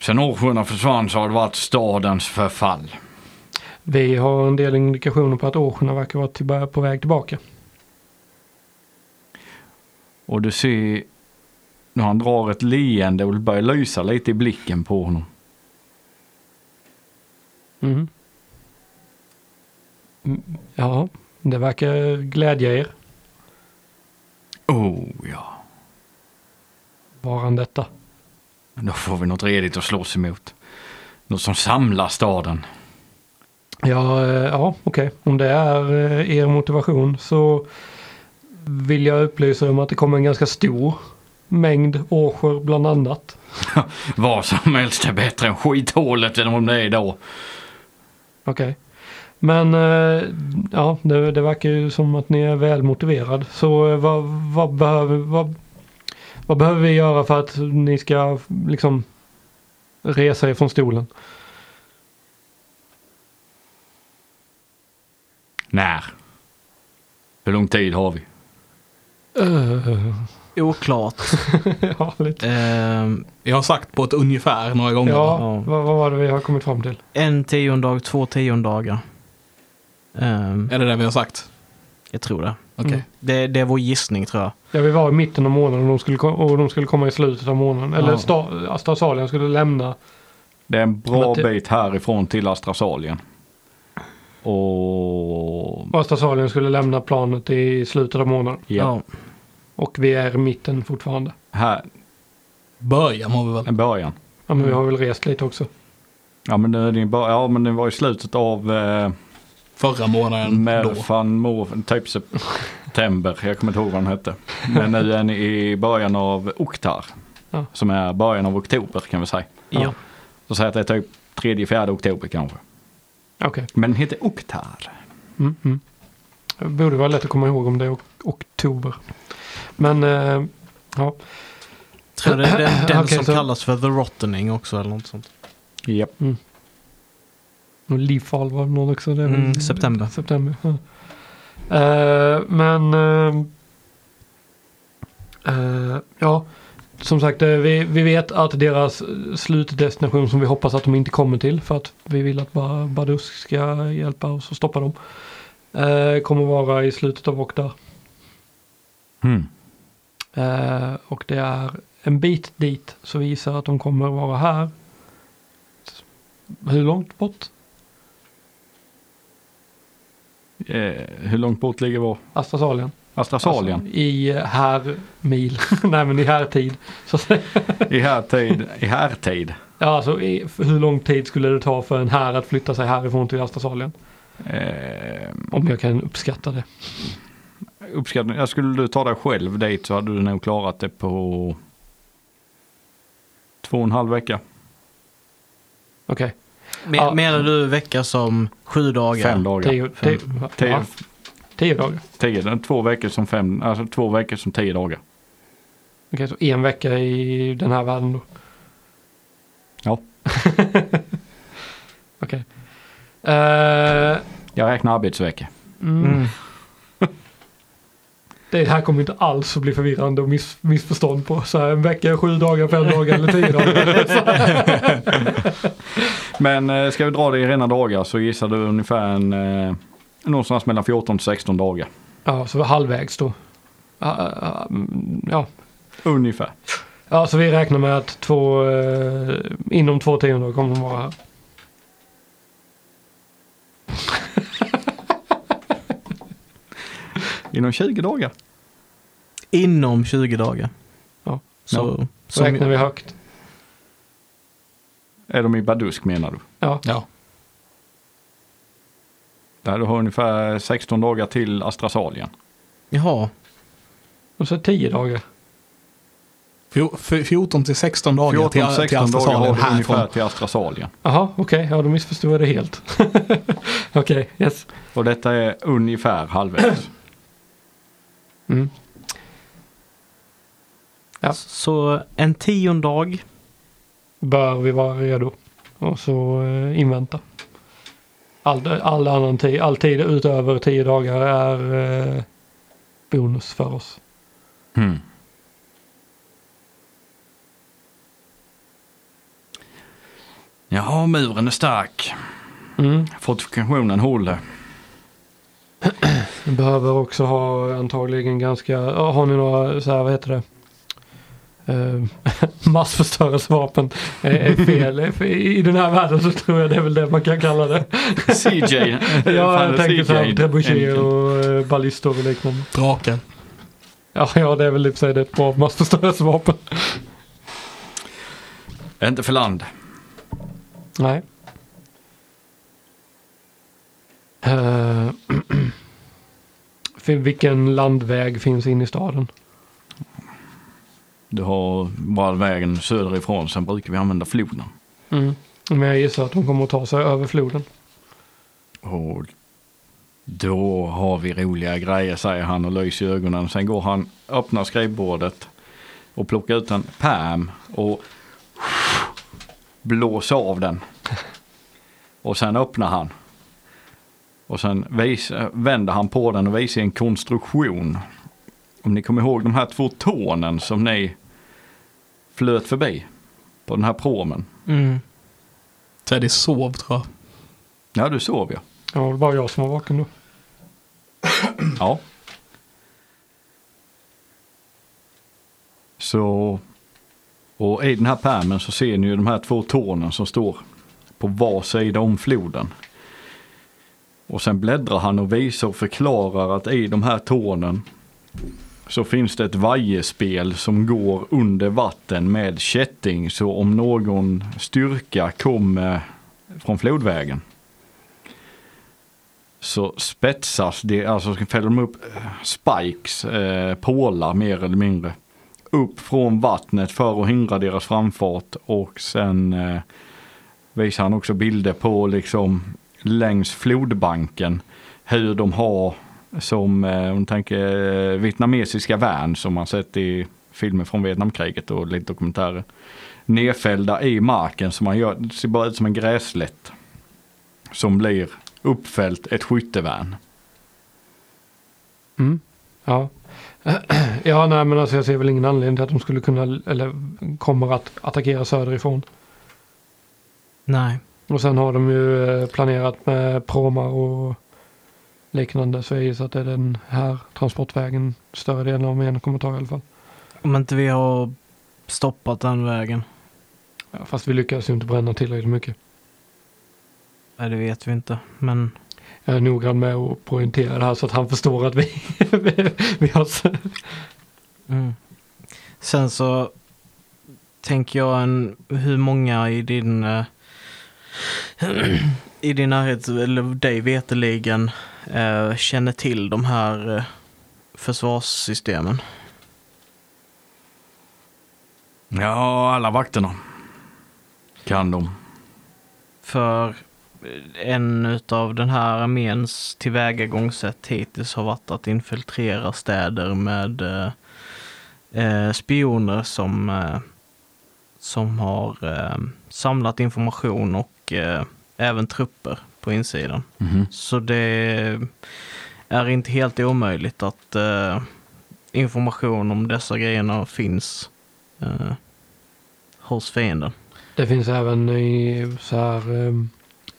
Speaker 4: Sen Årsjöna försvann så har det varit stadens förfall.
Speaker 3: vi har en del indikationer på att Åsjorna verkar vara tillba- på väg tillbaka.
Speaker 4: Och du ser... När han drar ett leende och det börjar lysa lite i blicken på honom.
Speaker 3: Mm. Ja, det verkar glädja er.
Speaker 4: Oh, ja.
Speaker 3: Var han detta?
Speaker 4: Då får vi något redigt att slåss emot. Något som samlar staden.
Speaker 3: Ja, eh, ja okej. Om det är eh, er motivation så vill jag upplysa om att det kommer en ganska stor mängd årsjor bland annat.
Speaker 4: Vad som helst är bättre än skithålet än om det är idag.
Speaker 3: Okej. Men eh, ja, det, det verkar ju som att ni är välmotiverad. Så eh, vad, vad, behöver, vad, vad behöver vi göra för att ni ska liksom resa er från stolen?
Speaker 4: När? Hur lång tid har vi?
Speaker 5: Eh. Oklart.
Speaker 3: *laughs* ja,
Speaker 5: *laughs*
Speaker 3: lite.
Speaker 5: Ehm,
Speaker 1: Jag har sagt på ett ungefär några gånger.
Speaker 3: Ja,
Speaker 5: Ja.
Speaker 3: vad, vad var det vi har kommit fram till?
Speaker 5: en tiondag, två tiondagar. Ehm,
Speaker 1: Är det det vi har sagt?
Speaker 5: jag tror det.
Speaker 1: Okej.
Speaker 3: Mm.
Speaker 5: det. Det är vår gissning tror jag.
Speaker 3: Ja, vi var i mitten av månaden och de skulle, ko- och de skulle komma i slutet av månaden. Eller
Speaker 5: Ja.
Speaker 3: sta, Stasalien skulle lämna.
Speaker 4: Det är en bra
Speaker 3: Men det-
Speaker 4: bit härifrån till Astrasalien. Och...
Speaker 3: och Stasalien skulle lämna planet i slutet av månaden.
Speaker 4: Ja.
Speaker 3: Och vi är i mitten fortfarande.
Speaker 4: Här,
Speaker 1: Början har vi väl?
Speaker 4: en början.
Speaker 5: Mm.
Speaker 3: Ja, men vi har väl rest lite också.
Speaker 4: Ja men, det, det är bara, ja men det var i slutet av eh,
Speaker 1: Förra månaden då.
Speaker 4: Melfan Mo, typ september. Jag kommer inte ihåg vad den hette. Men nu är ni i början av Oktar.
Speaker 3: Ja.
Speaker 4: Som är början av oktober kan vi säga.
Speaker 5: Ja.
Speaker 4: Så säg att det är typ tredje, fjärde oktober kanske.
Speaker 3: Okej.
Speaker 4: Men den heter Oktar.
Speaker 3: Mm, mm. Det borde vara lätt att komma ihåg om det är ok- oktober. Men eh, ja,
Speaker 5: Tror det är den, den
Speaker 3: *clears throat* Okej,
Speaker 5: som
Speaker 3: så-
Speaker 5: kallas för The Rottening också eller något sånt.
Speaker 4: Japp.
Speaker 3: och Leafall var någon också. Det är väl-
Speaker 5: Mm, september.
Speaker 3: September. Ja. Eh, men eh, eh, ja, som sagt, eh, vi, vi vet att deras eh, slutdestination som vi hoppas att de inte kommer till för att vi vill att Ba- Badusk ska hjälpa oss att stoppa dem. eh, kommer vara i slutet av Oktar.
Speaker 4: Mm.
Speaker 3: Eh, och det är en bit dit så vi gissar att de kommer vara här. Hur långt bort?
Speaker 4: Eh, hur långt bort ligger vår
Speaker 3: Astrasalien?
Speaker 4: Astrasalien?
Speaker 3: Alltså, I eh, här mil. *laughs* Nej men i här tid. Så, att säga.
Speaker 4: *laughs* I här tid. I här tid.
Speaker 3: ja, alltså, i, hur lång tid skulle det ta för en här att flytta sig härifrån till Astrasalien?
Speaker 4: Eh,
Speaker 3: Om jag kan uppskatta det.
Speaker 4: uppskattning. Jag skulle du ta dig själv dit så hade du nog klarat det på två och en halv vecka.
Speaker 3: Okej,
Speaker 5: Men,
Speaker 3: Ja.
Speaker 5: Menar du vecka som sju dagar?
Speaker 4: Fem dagar.
Speaker 3: tio, tio,
Speaker 4: Tio,
Speaker 3: ja, tio dagar.
Speaker 4: tio, det är två veckor som fem, alltså två veckor som tio dagar.
Speaker 3: Okej, så en vecka i den här världen då?
Speaker 4: Ja.
Speaker 3: Okej. Eh,
Speaker 4: Jag räknar arbetsvecka.
Speaker 5: Mm.
Speaker 3: *laughs* Det här kommer inte alls att bli förvirrande och miss, missförstånd på så här en vecka, sju dagar, *laughs* fem dagar eller tio dagar.
Speaker 4: Men eh, ska vi dra det i rena dagar så gissar du ungefär en, eh, någonstans mellan 14 till 16 dagar.
Speaker 3: Ja, så vi är halvvägs då. Ja, ja, mm, Ja,
Speaker 4: Ungefär.
Speaker 3: ja så vi räknar med att två, eh, inom två tiondelar kommer de vara här.
Speaker 4: Inom 20 dagar.
Speaker 5: Inom 20 dagar.
Speaker 3: Ja.
Speaker 5: Så,
Speaker 3: Så räknar vi högt.
Speaker 4: Är de i Badusk menar du?
Speaker 3: Ja,
Speaker 1: Ja.
Speaker 4: Där du har ungefär 16 dagar till Astrasalien.
Speaker 5: Jaha.
Speaker 3: och så tio dagar.
Speaker 1: Fjo- f- 14 till 16 dagar
Speaker 4: 14 till
Speaker 1: till, till
Speaker 4: 16 dagar har
Speaker 1: Astrasalien
Speaker 4: du ungefär
Speaker 1: härifrån.
Speaker 4: till Astrasalien.
Speaker 3: Jaha, okej, ja då missförstod jag det helt. *laughs* okej, yes.
Speaker 4: Och detta är ungefär halvvägs.
Speaker 3: Mm. Ja.
Speaker 5: Så en tiondag.
Speaker 3: Bör vi vara redo? Och så eh, invänta. All, all, annan tid, all tid utöver tio dagar är eh, bonus för oss.
Speaker 4: Mm. Jaha, muren är stark.
Speaker 3: Mm. *laughs*
Speaker 4: Fortifikationen håller.
Speaker 3: Vi behöver också ha antagligen ganska, ja, har ni några så här, vad heter det? Eh, *laughs* massförstörelsevapen är, är fel. I- I den här världen så tror jag det är väl det man kan kalla det.
Speaker 4: CJ.
Speaker 3: Ja, jag tänker så här
Speaker 4: Engine.
Speaker 3: trebuchet och eh, ballistor och liknande.
Speaker 1: Draken.
Speaker 3: Ja, ja, det är väl i och för sig det är ett bra massförstörelsevapen.
Speaker 4: Inte för land.
Speaker 3: Nej. Eh, *clears throat* för vilken landväg finns in i staden?
Speaker 4: Du har bara vägen söderifrån. Sen brukar vi använda floden.
Speaker 3: Mm. Men jag gissar att de kommer att ta sig över floden.
Speaker 4: Och då har vi roliga grejer säger han och lyser i ögonen. Sen går han, öppnar skrivbordet och plockar ut en pärm och blåser av den. Och sen öppnar han. Och sen vis, vänder han på den och visar en konstruktion. Om ni kommer ihåg de här två tornen som ni flöt förbi på den här promen.
Speaker 5: Mm.
Speaker 1: Teddy sov tror jag.
Speaker 4: Ja, du sov ja.
Speaker 3: Ja, det var bara jag som var vaken då.
Speaker 4: Ja. Så, och i den här pärmen så ser ni ju de här två tornen som står på var sida om floden. Och sen bläddrar han och visar och förklarar att i de här tornen så finns det ett vajerspel som går under vatten med kätting. Så om någon styrka kommer från flodvägen. Så spetsas det, alltså ska- fäller de upp eh, spikes, eh, pålar mer eller mindre, upp från vattnet för att hindra deras framfart och sen eh, visar han också bilder på liksom längs flodbanken hur de har som eh, om du tänker eh, vietnamesiska värn som man sett i filmer från Vietnamkriget och lite dokumentärer. Nedfällda i marken som man gör, det ser bara ut som en gräslätt. Som blir uppfällt ett skyttevärn.
Speaker 3: Mm. Ja. *clears throat* ja, nej men alltså jag ser väl ingen anledning till att de skulle kunna, eller kommer att attackera söderifrån.
Speaker 5: Nej.
Speaker 3: Och sen har de ju eh, planerat med promar och liknande så jag gissar att det är den här transportvägen större delen av armén kommer ta i alla fall.
Speaker 5: Om inte vi har stoppat den vägen.
Speaker 3: Ja, fast vi lyckas ju inte bränna tillräckligt mycket.
Speaker 5: Nej, det vet vi inte. Men
Speaker 3: Jag är noggrann med att poängtera det här så att han förstår att vi, *laughs* vi har...
Speaker 5: Mm. Sen så tänker jag en, hur många i din eh, *clears throat* i din närhet, eller dig veteligen eh, känner till de här eh, försvarssystemen.
Speaker 4: Ja, alla vakterna. Kan de.
Speaker 5: För en utav den här arméns tillvägagångssätt hittills har varit att infiltrera städer med eh, eh, spioner som, eh, som har eh, samlat information och eh, även trupper på insidan.
Speaker 4: Mhm,
Speaker 5: Så det är inte helt omöjligt att eh, information om dessa grejerna finns eh, hos fienden.
Speaker 3: Det finns även i så här eh,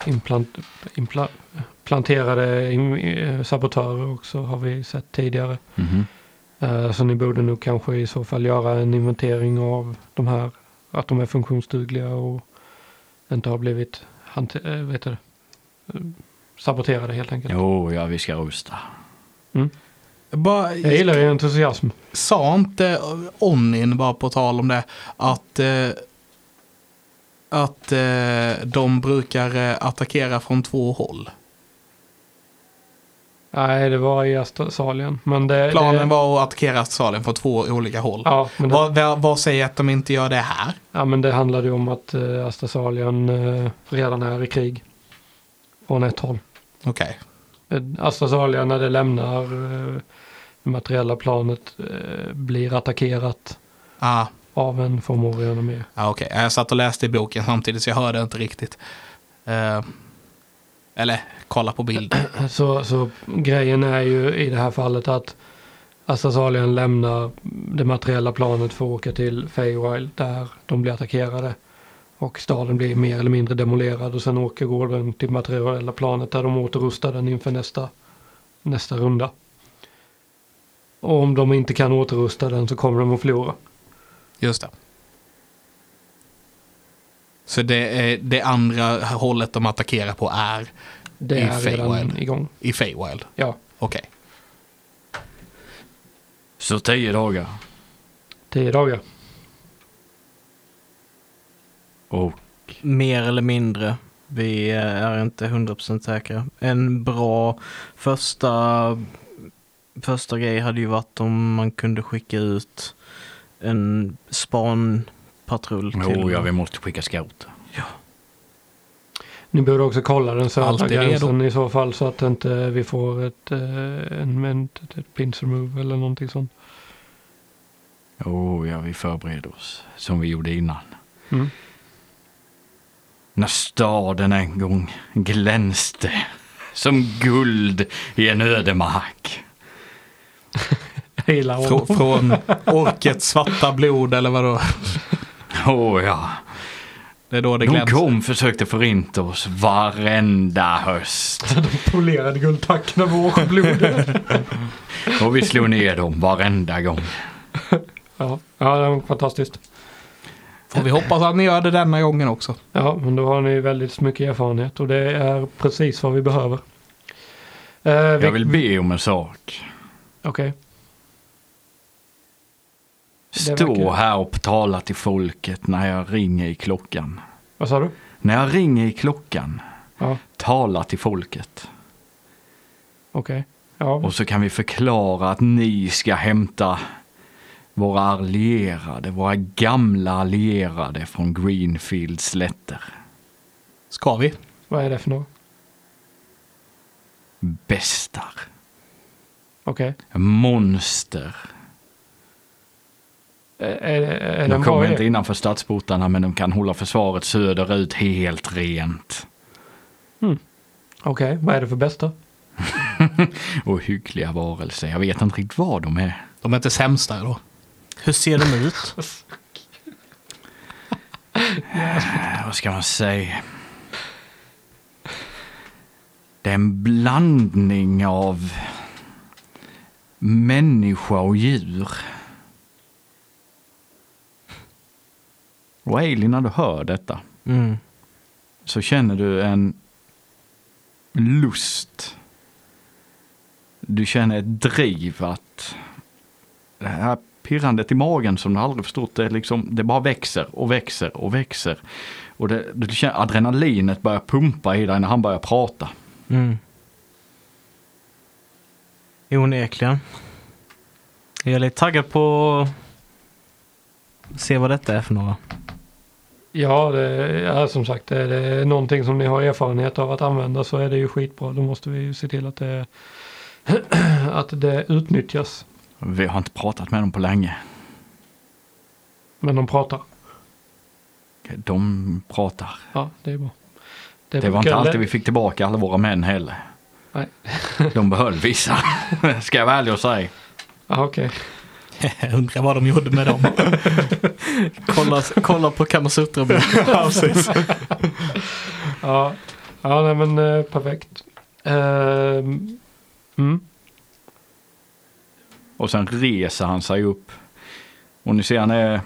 Speaker 3: implant, impla, planterade im- eh, sabotörer också har vi sett tidigare.
Speaker 4: mhm.
Speaker 3: Eh, Så ni borde nog kanske i så fall göra en inventering av de här, att de är funktionsdugliga och inte har blivit hanter, eh, vet du, det, eh, saboterade helt enkelt.
Speaker 4: Jo, ja vi ska rusta.
Speaker 1: Bara,
Speaker 3: Jag gillar er entusiasm.
Speaker 1: sa inte Onin, bara på tal om det, att, eh, att eh, de brukar eh, attackera från två håll?
Speaker 3: Nej, det var i Australien. Men det, det,
Speaker 1: Planen var att attackera Australien från två olika håll.
Speaker 3: Ja, men det,
Speaker 1: Vad, vad, vad säger att de inte gör det här?
Speaker 3: ja, men det handlade ju om att eh, Australien eh, redan är i krig. Från ett håll.
Speaker 1: Okej.
Speaker 3: Astrasalia när det lämnar eh, det materiella planet eh, blir attackerat
Speaker 1: Ah,
Speaker 3: av en formorian och mer.
Speaker 1: ah, okej. Jag satt och läste i boken samtidigt så jag hörde inte riktigt. Eh, eller kolla på bild.
Speaker 3: Så, så grejen är ju i det här fallet att Astrasalien lämnar det materiella planet för att åka till Feywild där de blir attackerade. Och staden blir mer eller mindre demolerad och sen åker gården till materiella planet där de återrustar den inför nästa, nästa runda. Och om de inte kan återrusta den så kommer de att förlora.
Speaker 1: Just det. Så det, är, det andra hållet de attackerar på är
Speaker 3: Det
Speaker 1: I
Speaker 3: är redan
Speaker 1: Feywild.
Speaker 3: igång.
Speaker 1: i Feywild.
Speaker 3: Ja,
Speaker 1: Okej.
Speaker 4: Så tio dagar.
Speaker 3: tio dagar.
Speaker 4: Och
Speaker 5: Mer eller mindre. Vi eh, är inte 100% säkra. En bra första, första grej hade ju varit om man kunde skicka ut en spanpatrull till.
Speaker 4: jo, Oh, ja vi måste skicka scout.
Speaker 3: Ni borde också kolla den södra
Speaker 1: Allt är
Speaker 3: gränsen i så fall så att inte vi får ett, eh, en, en, ett pincer move eller någonting sånt.
Speaker 4: Jo, ja vi förbereder oss. Som vi gjorde innan.
Speaker 3: Mm.
Speaker 4: När staden en gång glänste som guld i en ödemark.
Speaker 3: Jag gillar
Speaker 1: Frå,
Speaker 3: honom.
Speaker 1: från orkets svarta blod eller vadå?
Speaker 4: Åh ja,
Speaker 1: Det är då det
Speaker 4: de
Speaker 1: glänser.
Speaker 4: kom försökte förinta oss varenda höst.
Speaker 3: Polerad guldtack med vår
Speaker 4: *laughs*
Speaker 3: blod.
Speaker 4: Och vi slog ner dem varenda gång.
Speaker 3: ja, ja, det var fantastiskt.
Speaker 1: Får vi hoppas att ni gör det denna gången också.
Speaker 3: Ja, men då har ni väldigt mycket erfarenhet och det är precis vad vi behöver. Eh, vi,
Speaker 4: Jag vill be om en sak.
Speaker 3: Okej.
Speaker 4: Stå
Speaker 3: verkar-
Speaker 4: här och tala till folket när jag ringer i klockan.
Speaker 3: Vad sa du?
Speaker 4: När jag ringer i klockan,
Speaker 3: Ja,
Speaker 4: tala till folket.
Speaker 3: okej. Ja,
Speaker 4: Och så kan vi förklara att ni ska hämta våra allierade, våra gamla allierade från Greenfields slätter.
Speaker 1: Ska vi?
Speaker 3: vad är det för något?
Speaker 4: Bästar.
Speaker 3: Okej.
Speaker 4: Monster.
Speaker 3: Är, Eh, är, är den
Speaker 4: De
Speaker 3: bra
Speaker 4: kommer inte
Speaker 3: idé?
Speaker 4: innanför stadsportarna men de kan hålla försvaret söderut helt rent.
Speaker 3: Okej, vad är det för bästa?
Speaker 4: Och hyggliga varelser. Jag vet inte riktigt vad de är.
Speaker 1: De är inte sämsta då.
Speaker 5: Hur ser de ut?
Speaker 4: *laughs* Eh, Vad ska man säga? Det är en blandning av människa och djur. Och Ailey, när du hör detta
Speaker 5: Mm.
Speaker 4: så känner du en lust. Du känner ett driv att det här pirrandet i magen som du aldrig förstått, det, är liksom, det bara växer och växer och växer. Och det, du känner adrenalinet börjar pumpa i dig när han börjar prata.
Speaker 5: Mm. Onekligen. Jag är lite taggad på att se vad detta är för några.
Speaker 3: Ja, det är som sagt, är det någonting som ni har erfarenhet av att använda så är det ju skitbra. Då måste vi ju se till att det, *clears throat* att det utnyttjas.
Speaker 4: Vi har inte pratat med dem på länge.
Speaker 3: Men de pratar.
Speaker 4: De pratar.
Speaker 3: Ja, det är bra.
Speaker 4: Det var
Speaker 3: brukar
Speaker 4: inte alltid
Speaker 3: lä-
Speaker 4: vi fick tillbaka alla våra män heller.
Speaker 3: Nej.
Speaker 4: De behöll *laughs* vissa, ska jag vara ärlig och säga.
Speaker 3: Ja, okej.
Speaker 1: Undrar vad de gjorde med dem.
Speaker 5: Kolla, kolla på kamasutra
Speaker 1: *laughs* ja, precis.
Speaker 3: Ja, ja nej, men eh, perfekt. Ehm, mm.
Speaker 4: Och sen reser han sig upp. Och ni ser han är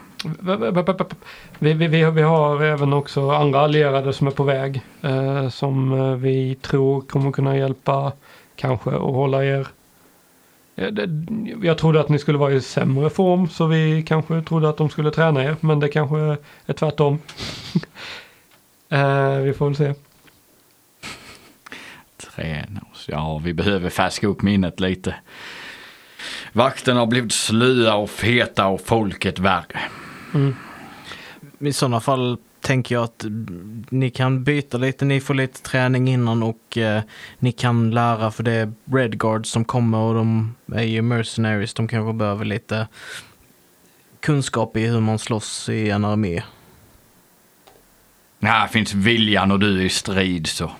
Speaker 3: Vi, vi, vi, vi har även också andra allierade som är på väg. Eh, som eh, vi tror kommer kunna hjälpa kanske och hålla er. Ja, det, jag trodde att ni skulle vara i sämre form så vi kanske trodde att de skulle träna er. Men det kanske är tvärtom. *laughs* eh, vi får väl se.
Speaker 4: Träna oss. Ja, vi behöver färska upp minnet lite. Vakterna har blivit slöa och feta och folket värre.
Speaker 5: I sådana fall tänker jag att ni kan byta lite, ni får lite träning innan och eh, ni kan lära för det är Red Guards som kommer och de är ju mercenaries, de kanske behöver lite kunskap i hur man slåss i en armé.
Speaker 4: Här finns viljan och du är i strid så.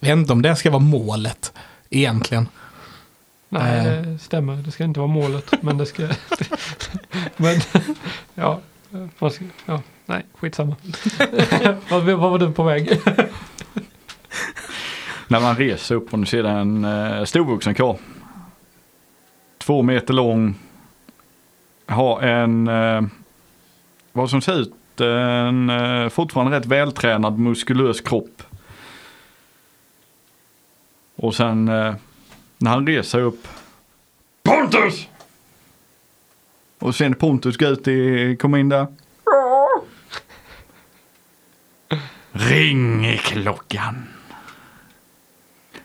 Speaker 1: Jag vet inte om det ska vara målet egentligen.
Speaker 3: Nej,
Speaker 1: Eh.
Speaker 3: det stämmer. Det ska inte vara målet. men det ska... *laughs* men ja, man ska, ja, nej, skitsamma. *laughs* vad, vad var du på väg?
Speaker 4: När man reser upp och nu ser en eh, storvuxen karl. Två meter lång. Har en, eh, vad som ser ut, en eh, fortfarande rätt vältränad muskulös kropp. Och sen eh, när han reser upp. Pontus! Och sen Pontus går ut i, kom in där. Ring i klockan.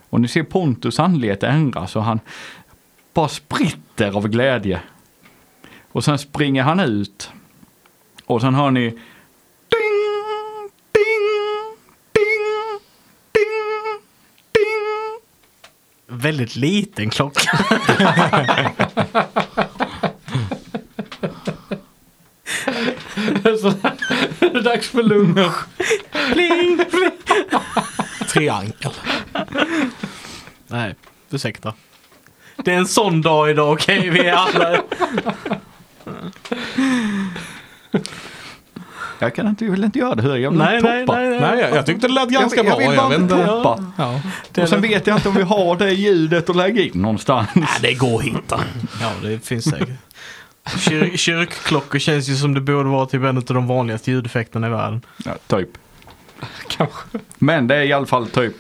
Speaker 4: Och ni ser Pontus anlete ändras och han bara spritter av glädje. Och sen springer han ut. Och sen hör ni ding, ding, ding, ding, ding.
Speaker 5: Väldigt liten klocka.
Speaker 3: Så är *laughs* det dags för lunch.
Speaker 5: Pling!
Speaker 1: Triangel.
Speaker 5: Nej, ursäkta. Det är en sån dag idag, okej? Vi är alla...
Speaker 4: Jag kan inte, jag vill inte göra det högre, jag vill
Speaker 5: Nej,
Speaker 4: inte
Speaker 5: nej,
Speaker 4: toppa.
Speaker 5: nej. nej.
Speaker 1: Nej, jag, jag tyckte det lät ganska
Speaker 4: jag, vill-
Speaker 1: bra.
Speaker 4: jag
Speaker 1: Jag
Speaker 4: vill
Speaker 1: vet
Speaker 4: bara inte
Speaker 1: inte.
Speaker 4: toppa.
Speaker 1: Ja.
Speaker 4: Och sen vet jag inte om vi har det ljudet att lägga in någonstans.
Speaker 1: Nej, det går att hitta.
Speaker 5: Ja, det finns säkert. Kyr- kyrkklockor känns ju som det borde vara typ en av de vanligaste ljudeffekterna i världen.
Speaker 4: Ja, typ.
Speaker 3: Kanske.
Speaker 4: Men det är i alla fall typ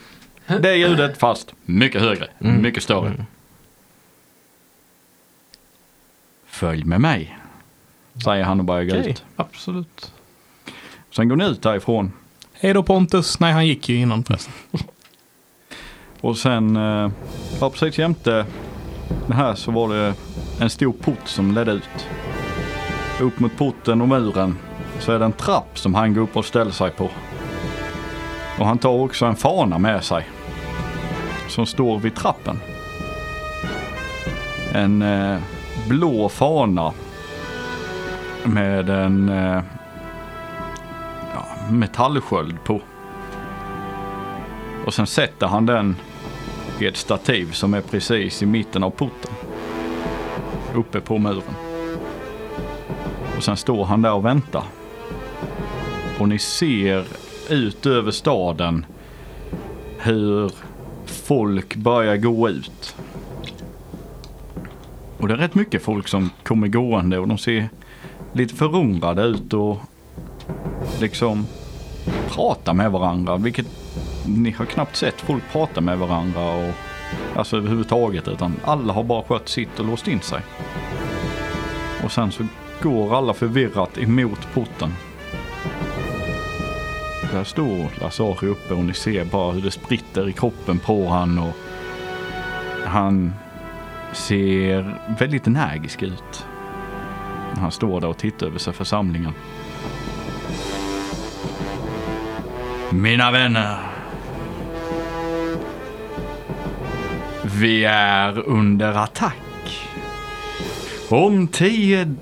Speaker 4: det är ljudet fast mycket högre, mycket större. Följ med mig, säger han och börjar gå
Speaker 5: Okej.
Speaker 4: ut.
Speaker 3: Absolut.
Speaker 4: Sen går ni ut därifrån.
Speaker 1: Hej då Pontus. Nej, han gick ju innan förresten.
Speaker 4: Och sen, eh, ja, precis jämte det här så var det en stor port som ledde ut. Upp mot porten och muren så är det en trapp som han går upp och ställer sig på. Och han tar också en fana med sig. Som står vid trappen. En eh, blå fana. Med en eh, ja, metallsköld på. Och sen sätter han den i ett stativ som är precis i mitten av porten. Uppe på muren. Och sen står han där och väntar. Och ni ser ut över staden hur folk börjar gå ut. Och det är rätt mycket folk som kommer gående och de ser lite förundrade ut och liksom pratar med varandra. Vilket ni har knappt sett folk prata med varandra och alltså överhuvudtaget utan alla har bara skött sitt och låst in sig. Och sen så går alla förvirrat emot porten. Där står Lazari uppe och ni ser bara hur det spritter i kroppen på han och han ser väldigt energisk ut. Han står där och tittar över sig församlingen. Mina vänner. Vi är under attack. Om tio,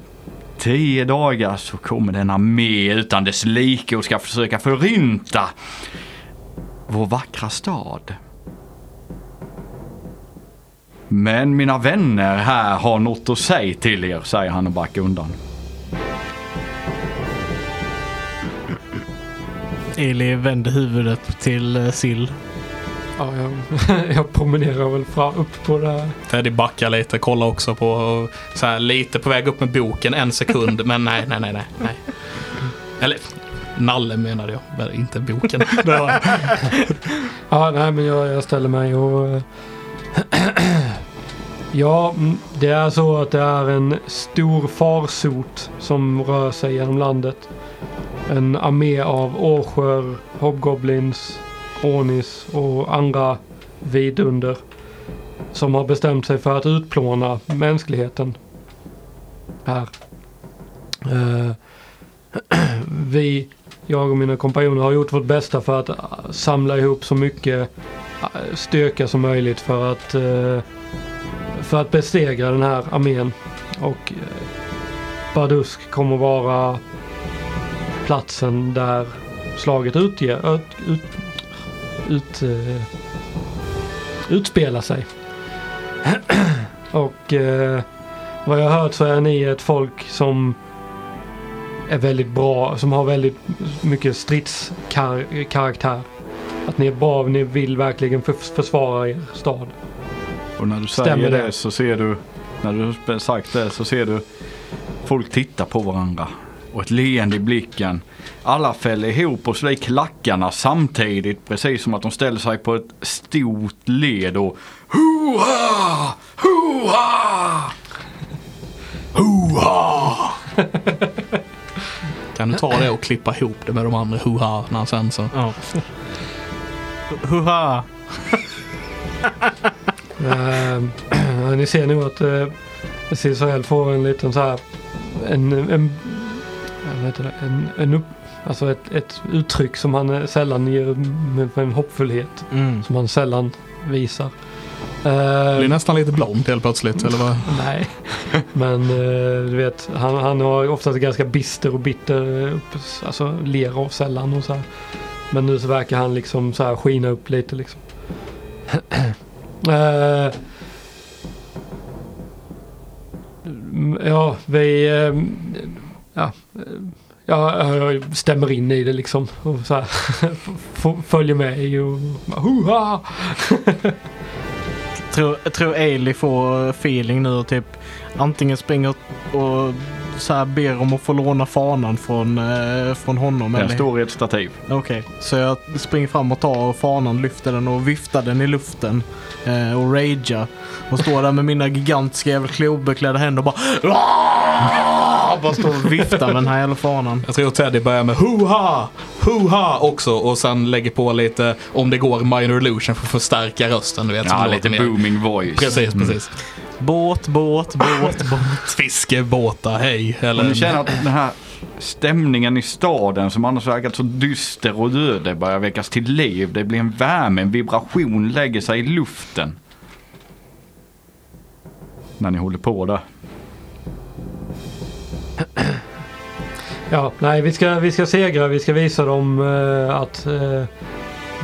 Speaker 4: tio dagar så kommer den armé utan dess like och ska försöka förinta vår vackra stad. Men mina vänner här har något att säga till er, säger han och backar undan.
Speaker 5: Eli vänder huvudet till eh, Sill.
Speaker 3: Ja, jag, jag *laughs* promenerar väl fram, upp på det här.
Speaker 1: Teddy backar lite, kollar också på, så här, lite på väg upp med boken en
Speaker 4: *laughs*
Speaker 1: sekund, men nej, nej, nej, nej. nej. Eller, Nalle menade jag, men inte
Speaker 4: *laughs*
Speaker 1: boken. Det var-
Speaker 3: Ja, nej, men jag, jag ställer mig och... *clears throat* eh, ja, mm, det är så att det är en stor farsot som rör sig genom landet. En armé av årsjör, hobgoblins, onis och andra vidunder. Som har bestämt sig för att utplåna mänskligheten. Här. Eh, *clears throat* vi jag och mina kompanjoner har gjort vårt bästa för att eh, samla ihop så mycket eh, styrka som möjligt för att, eh, för att besegra den här armén. Och eh, Bardusk kommer vara platsen där slaget utge, ut, ut, ut, eh, utspelar sig. *clears throat* och eh, vad jag har hört så är ni ett folk som är väldigt bra, som har väldigt mycket stridskaraktär. Att ni är bra, ni vill verkligen för- försvara er stad.
Speaker 4: Och när du
Speaker 3: Stämmer
Speaker 4: säger
Speaker 3: det?
Speaker 4: det så ser du, när du har sagt det så ser du folk titta på varandra och ett leende i blicken. Alla fäller ihop och slår i klackarna samtidigt precis som att de ställer sig på ett stort led och Hoa! Hoa! Hoa!
Speaker 1: Kan du ta det och klippa ihop det med de andra hoharna sen så.
Speaker 5: Ja. Huha!
Speaker 3: Ehm, *clears throat* ni ser nog att eh, Cisael får en liten så här, en, en, vad heter det, en, en upp, alltså ett, ett uttryck som han eh, sällan ger med en hoppfullhet.
Speaker 5: Mm.
Speaker 3: Som han sällan visar.
Speaker 1: Det är
Speaker 3: Ehm,
Speaker 1: nästan lite blond helt plötsligt, eller vad?
Speaker 3: Nej, men eh, du vet, han, han har oftast ganska bister och bitter eh, upp, alltså, ler av sällan och så här. Men nu så verkar han liksom så här skina upp lite liksom. *clears throat* Eh, mm, ja, vi... eh, ja, eh, ja, jag stämmer in i det liksom. Och så här, *laughs* f- följer med i och... Hurra!
Speaker 5: Tror, tror Eli får feeling nu och typ antingen springer och så här ber om att få låna fanan från, eh, från honom.
Speaker 4: Den
Speaker 5: eller-
Speaker 4: står i ett stativ.
Speaker 5: Okej, så jag springer fram och tar fanan, lyfter den och viftar den i luften. Eh, och ragear. Och står där med mina gigantiska jävla klobeklädda händer och bara... jag bara står och viftar med den här jävla fanan.
Speaker 1: Jag tror Teddy börjar med Hoo-ha! Hoo-ha också och sen lägger på lite, om det går, Minor Illusion för att förstärka rösten. Du vet, så
Speaker 4: Ja,
Speaker 1: det låter
Speaker 4: lite Mm.
Speaker 1: mer-
Speaker 4: booming voice.
Speaker 1: Precis, precis.
Speaker 5: Båt, båt, båt, båt.
Speaker 1: Fiskebåtar, hej. Eller
Speaker 4: Och nu känner jag att den här stämningen i staden som annars verkat så dyster och död börjar väckas till liv. Det blir en värme, en vibration lägger sig i luften. När ni håller på där.
Speaker 3: Ja, nej, vi ska, vi ska segra. Vi ska visa dem eh, att eh,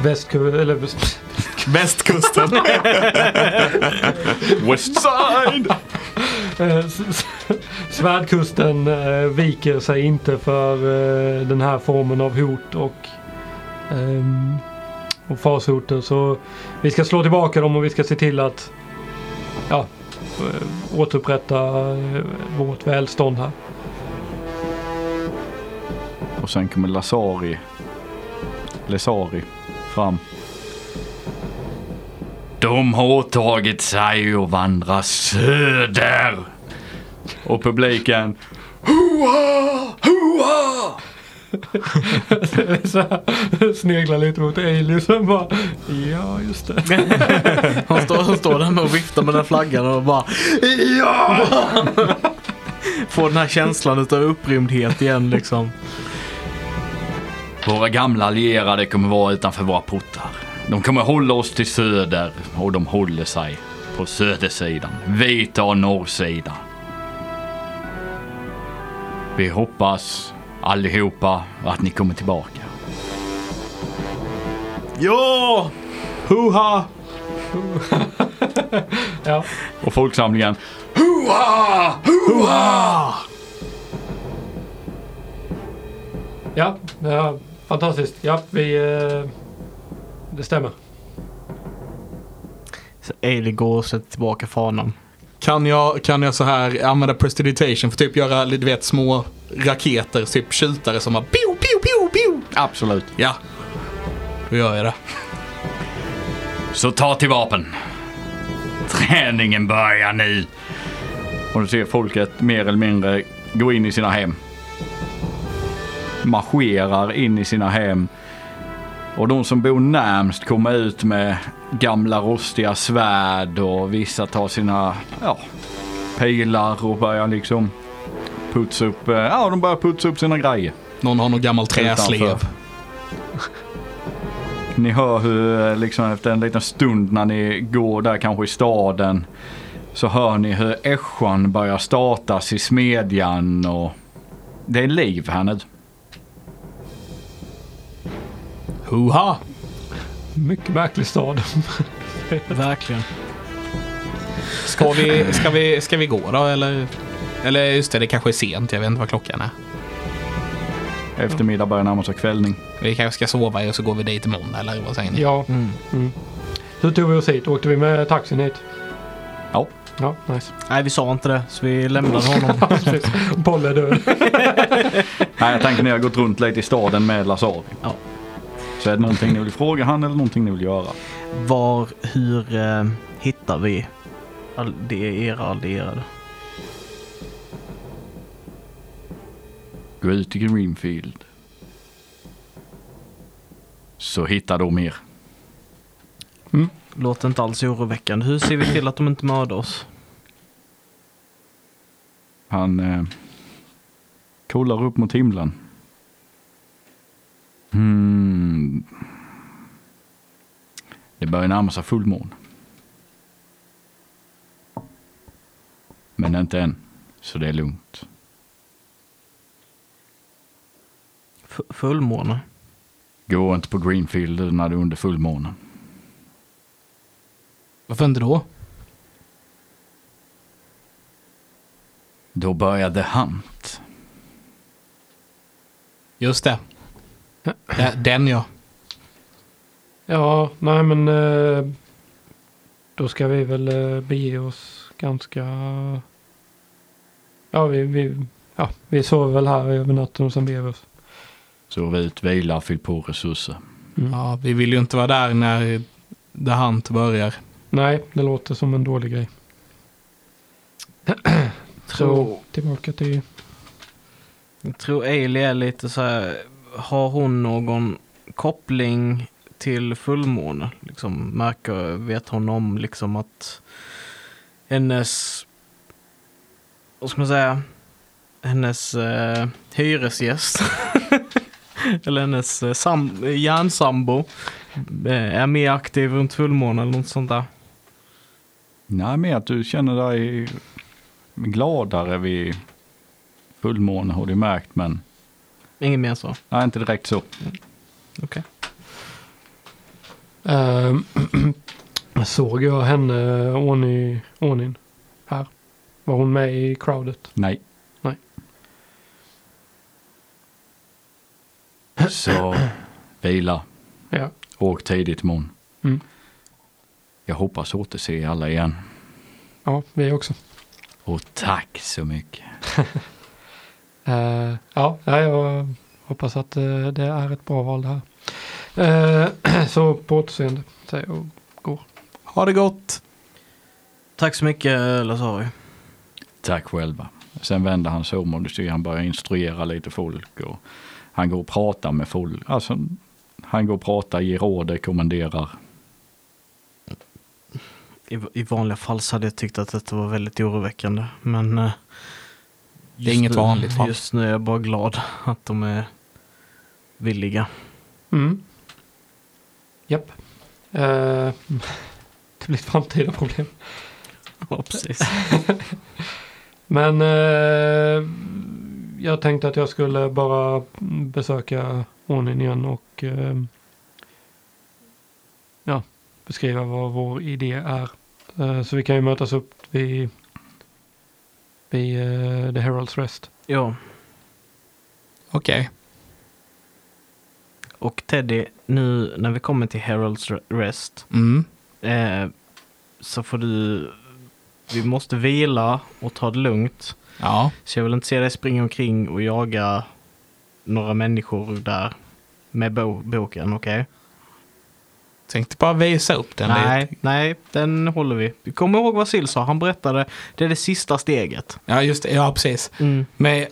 Speaker 3: västku- eller *laughs* väst-
Speaker 1: västkusten.
Speaker 4: Westside!
Speaker 3: eh, s- s- svärdkusten eh, viker sig inte för eh, den här formen av hot och, ehm, och farshoten. Så vi ska slå tillbaka dem och vi ska se till att ja, eh, återupprätta eh, vårt välstånd här. *laughs*
Speaker 4: Och sen kommer Lasari. Lesari fram. De har åtagit sig att vandra söder. Och publiken. Hoa! Hoa!
Speaker 3: Så här, Sneglar lite mot Ailey sen bara ja just det.
Speaker 5: Hon står, hon står där med och viftar med den här flaggan och bara
Speaker 4: Ja!
Speaker 5: får den här känslan utav upprymdhet igen liksom.
Speaker 4: Våra gamla allierade kommer vara utanför våra portar. De kommer hålla oss till söder och de håller sig på södersidan. Vi tar norrsidan. Vi hoppas allihopa att ni kommer tillbaka.
Speaker 5: Ja!
Speaker 1: Hoo-ha!
Speaker 3: Ja.
Speaker 4: Och folksamlingen.
Speaker 3: Ja, ja fantastiskt. Ja, vi... Eh, det stämmer.
Speaker 5: Så Ailey går och sätter tillbaka fanan.
Speaker 1: *laughs* Kan jag, kan jag så här använda prestidigitation för typ göra, du vet, små raketer, typ tjutare som har pew, pew, pew, pew.
Speaker 4: Absolut.
Speaker 1: Ja. Då gör jag det.
Speaker 4: Så ta till vapen. Träningen börjar nu. Och du ser folket mer eller mindre gå in i sina hem. Marscherar in i sina hem. Och de som bor närmst kommer ut med gamla rostiga svärd och vissa tar sina ja, pilar och börjar liksom putsa upp, eh, ja, de börjar putsa upp sina grejer.
Speaker 1: Någon har någon gammal
Speaker 4: Utanför.
Speaker 1: träslev.
Speaker 4: Ni hör hur eh, liksom efter en liten stund när ni går där kanske i staden så hör ni hur äschan börjar startas i smedjan och det är liv här nu.
Speaker 1: Hoo-ha!
Speaker 3: Mycket märklig stad.
Speaker 5: Verkligen.
Speaker 1: Ska vi, ska, vi, ska vi gå då eller? Eller just det, det kanske är sent. Jag vet inte vad klockan är.
Speaker 4: Eftermiddag börjar närma sig kvällning.
Speaker 1: Vi kanske ska sova och så går vi dit imorgon eller vad säger ni?
Speaker 3: ja.
Speaker 5: Mm.
Speaker 3: Mm. Hur tog vi oss hit? Åkte vi med taxin hit?
Speaker 4: Ja.
Speaker 3: Ja, *laughs* nice.
Speaker 5: Nej, vi sa inte det, så vi lämnade honom.
Speaker 3: Precis. Boll är död.
Speaker 4: Nej, jag tänker ni har gått runt lite i staden med Lazari.
Speaker 5: Ja.
Speaker 4: Så är det någonting ni vill fråga han eller någonting ni vill göra?
Speaker 5: Var, hur eh, hittar vi all, det är era allierade?
Speaker 4: Gå ut i Greenfield. Så hittar de er.
Speaker 5: Låter inte alls oroväckande. Hur ser vi till att de inte mördar oss?
Speaker 4: Han eh, kollar upp mot himlen. Hmm. Det börjar närma sig fullmåne. Men inte än, så det är lugnt.
Speaker 5: F- fullmåne?
Speaker 4: Gå inte på Greenfield när det är under fullmånen.
Speaker 1: Varför inte då?
Speaker 4: Då börjar det hunt.
Speaker 1: Just det. Ja, Den ja.
Speaker 3: Ja, nej men... Eh, då ska vi väl eh, bege oss ganska... Ja, vi, vi, ja, vi sover väl här över natten och sen beger vi oss.
Speaker 4: Sov ut, vila, fyll på resurser.
Speaker 1: ja. Vi vill ju inte vara där när The Hunt börjar.
Speaker 3: Nej, det låter som en dålig grej. Så tillbaka till
Speaker 5: Jag tror Ailey är lite så här, har hon någon koppling till fullmånen? Liksom, märker, vet hon om liksom att hennes, vad ska man säga, hennes eh, hyresgäst *laughs* eller hennes eh, sam- järnsambo eh, är mer aktiv runt fullmånen eller något sånt där.
Speaker 4: Nej, men att du känner dig gladare vid fullmåne har du märkt, men
Speaker 5: Inget mer så.
Speaker 4: nej, inte direkt så.
Speaker 3: Ehm, *clears throat* såg jag henne, Åni, Ånin, här? Var hon med i crowdet?
Speaker 4: Nej.
Speaker 3: Nej.
Speaker 4: Så vila,
Speaker 3: Ja.
Speaker 4: åk tidigt imorgon.
Speaker 3: Mm.
Speaker 4: Jag hoppas återse er alla igen.
Speaker 3: Ja, vi också.
Speaker 4: Och tack så mycket.
Speaker 3: Eh, ja, ja, jag hoppas att eh, det är ett bra val det här. Eh, *clears throat* så på återseende, säger jag.
Speaker 1: Ha det gott!
Speaker 5: Tack så mycket Lazari.
Speaker 4: Tack själva. Sen vänder han sig om och du ser han börjar instruera lite folk och han går och pratar med folk. Alltså, han går och pratar, ger råd, kommenderar.
Speaker 5: I, I vanliga fall så hade jag tyckt att detta var väldigt oroväckande. Men eh,
Speaker 1: Det är
Speaker 5: just
Speaker 1: inget
Speaker 5: nu,
Speaker 1: vanligt fall.
Speaker 5: Just nu är jag bara glad att de är villiga. *laughs*
Speaker 3: Mm. Japp. Eh, *laughs* det blir ett framtida problem.
Speaker 5: Ja, precis.
Speaker 3: Men eh, jag tänkte att jag skulle bara besöka Ånin igen och eh, ja, beskriva vad vår idé är. Eh, så vi kan ju mötas upp vid, vid eh, The Herald's *laughs* Rest.
Speaker 5: Ja,
Speaker 1: Okej.
Speaker 5: och Teddy, nu när vi kommer till Herald's Rest
Speaker 1: Mm.
Speaker 5: eh, så får du... Vi måste vila och ta det lugnt.
Speaker 1: Ja.
Speaker 5: Så jag vill inte se dig springa omkring och jaga några människor där med bo- boken, okej?
Speaker 1: Tänkte bara visa upp den
Speaker 5: nej,
Speaker 1: lite.
Speaker 5: nej, den håller vi. Kom ihåg vad Sil sa, han berättade, det är det sista steget.
Speaker 1: Ja, just det. Ja, precis.
Speaker 5: Mm.
Speaker 1: Men,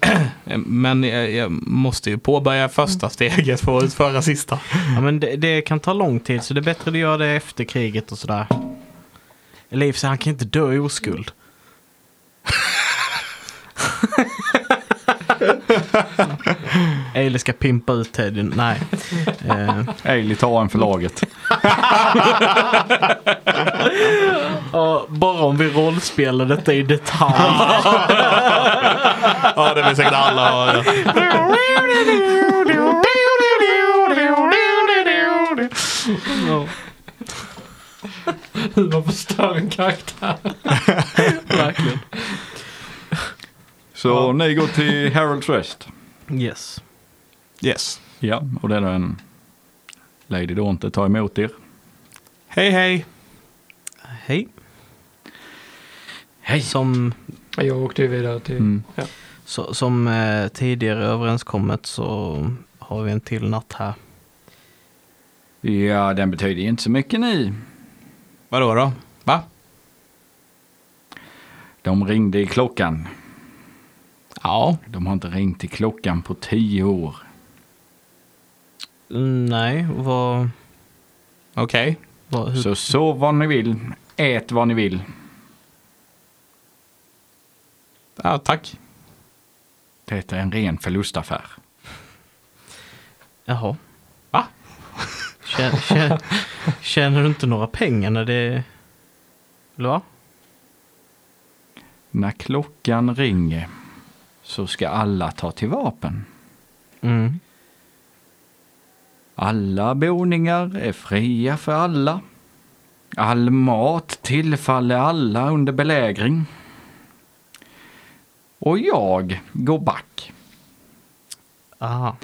Speaker 1: *clears throat* men jag, jag måste ju påbörja
Speaker 5: Mm.
Speaker 1: första steget för att utföra sista.
Speaker 5: Ja, men det, det kan ta lång tid, så det är bättre att göra det efter kriget och sådär. Eller i och för sig, han kan inte dö i oskuld. Ailey ska pimpa ut Teddy. Nej. Eh,
Speaker 4: Ejli tar en för laget.
Speaker 5: ja, bara om vi rollspelar detta i detalj.
Speaker 1: *laughs* Ja, det vill säkert alla höra.
Speaker 3: Hur man förstör en karaktär.
Speaker 5: Verkligen.
Speaker 4: Så ni går till Harold's Rest.
Speaker 5: Yes.
Speaker 1: Yes.
Speaker 4: Ja, och det är en Lady Daunte tar emot er.
Speaker 1: Hej, hej.
Speaker 5: Hej. Hej. Som,
Speaker 3: Jag åkte ju vidare till...
Speaker 4: Mm.
Speaker 5: så, som eh, tidigare överenskommet så har vi en till natt här.
Speaker 4: Ja, den betyder ju inte så mycket nu.
Speaker 1: Vadå då? Va?
Speaker 4: De ringde i klockan.
Speaker 1: Ja.
Speaker 4: De har inte ringt i klockan på tio år.
Speaker 5: Mm, Nej, vad...
Speaker 1: Okej.
Speaker 5: vad hur,
Speaker 4: Så sov vad ni vill, ät vad ni vill.
Speaker 1: Ja, tack.
Speaker 4: Detta är en ren förlustaffär.
Speaker 5: Jaha.
Speaker 1: Va?
Speaker 5: Tjä- tjä- Tjänar du inte några pengar när det... Eller va?
Speaker 4: När klockan ringer så ska alla ta till vapen.
Speaker 5: Mm.
Speaker 4: Alla boningar är fria för alla. All mat tillfaller alla under belägring. Och jag går back.
Speaker 5: Aha.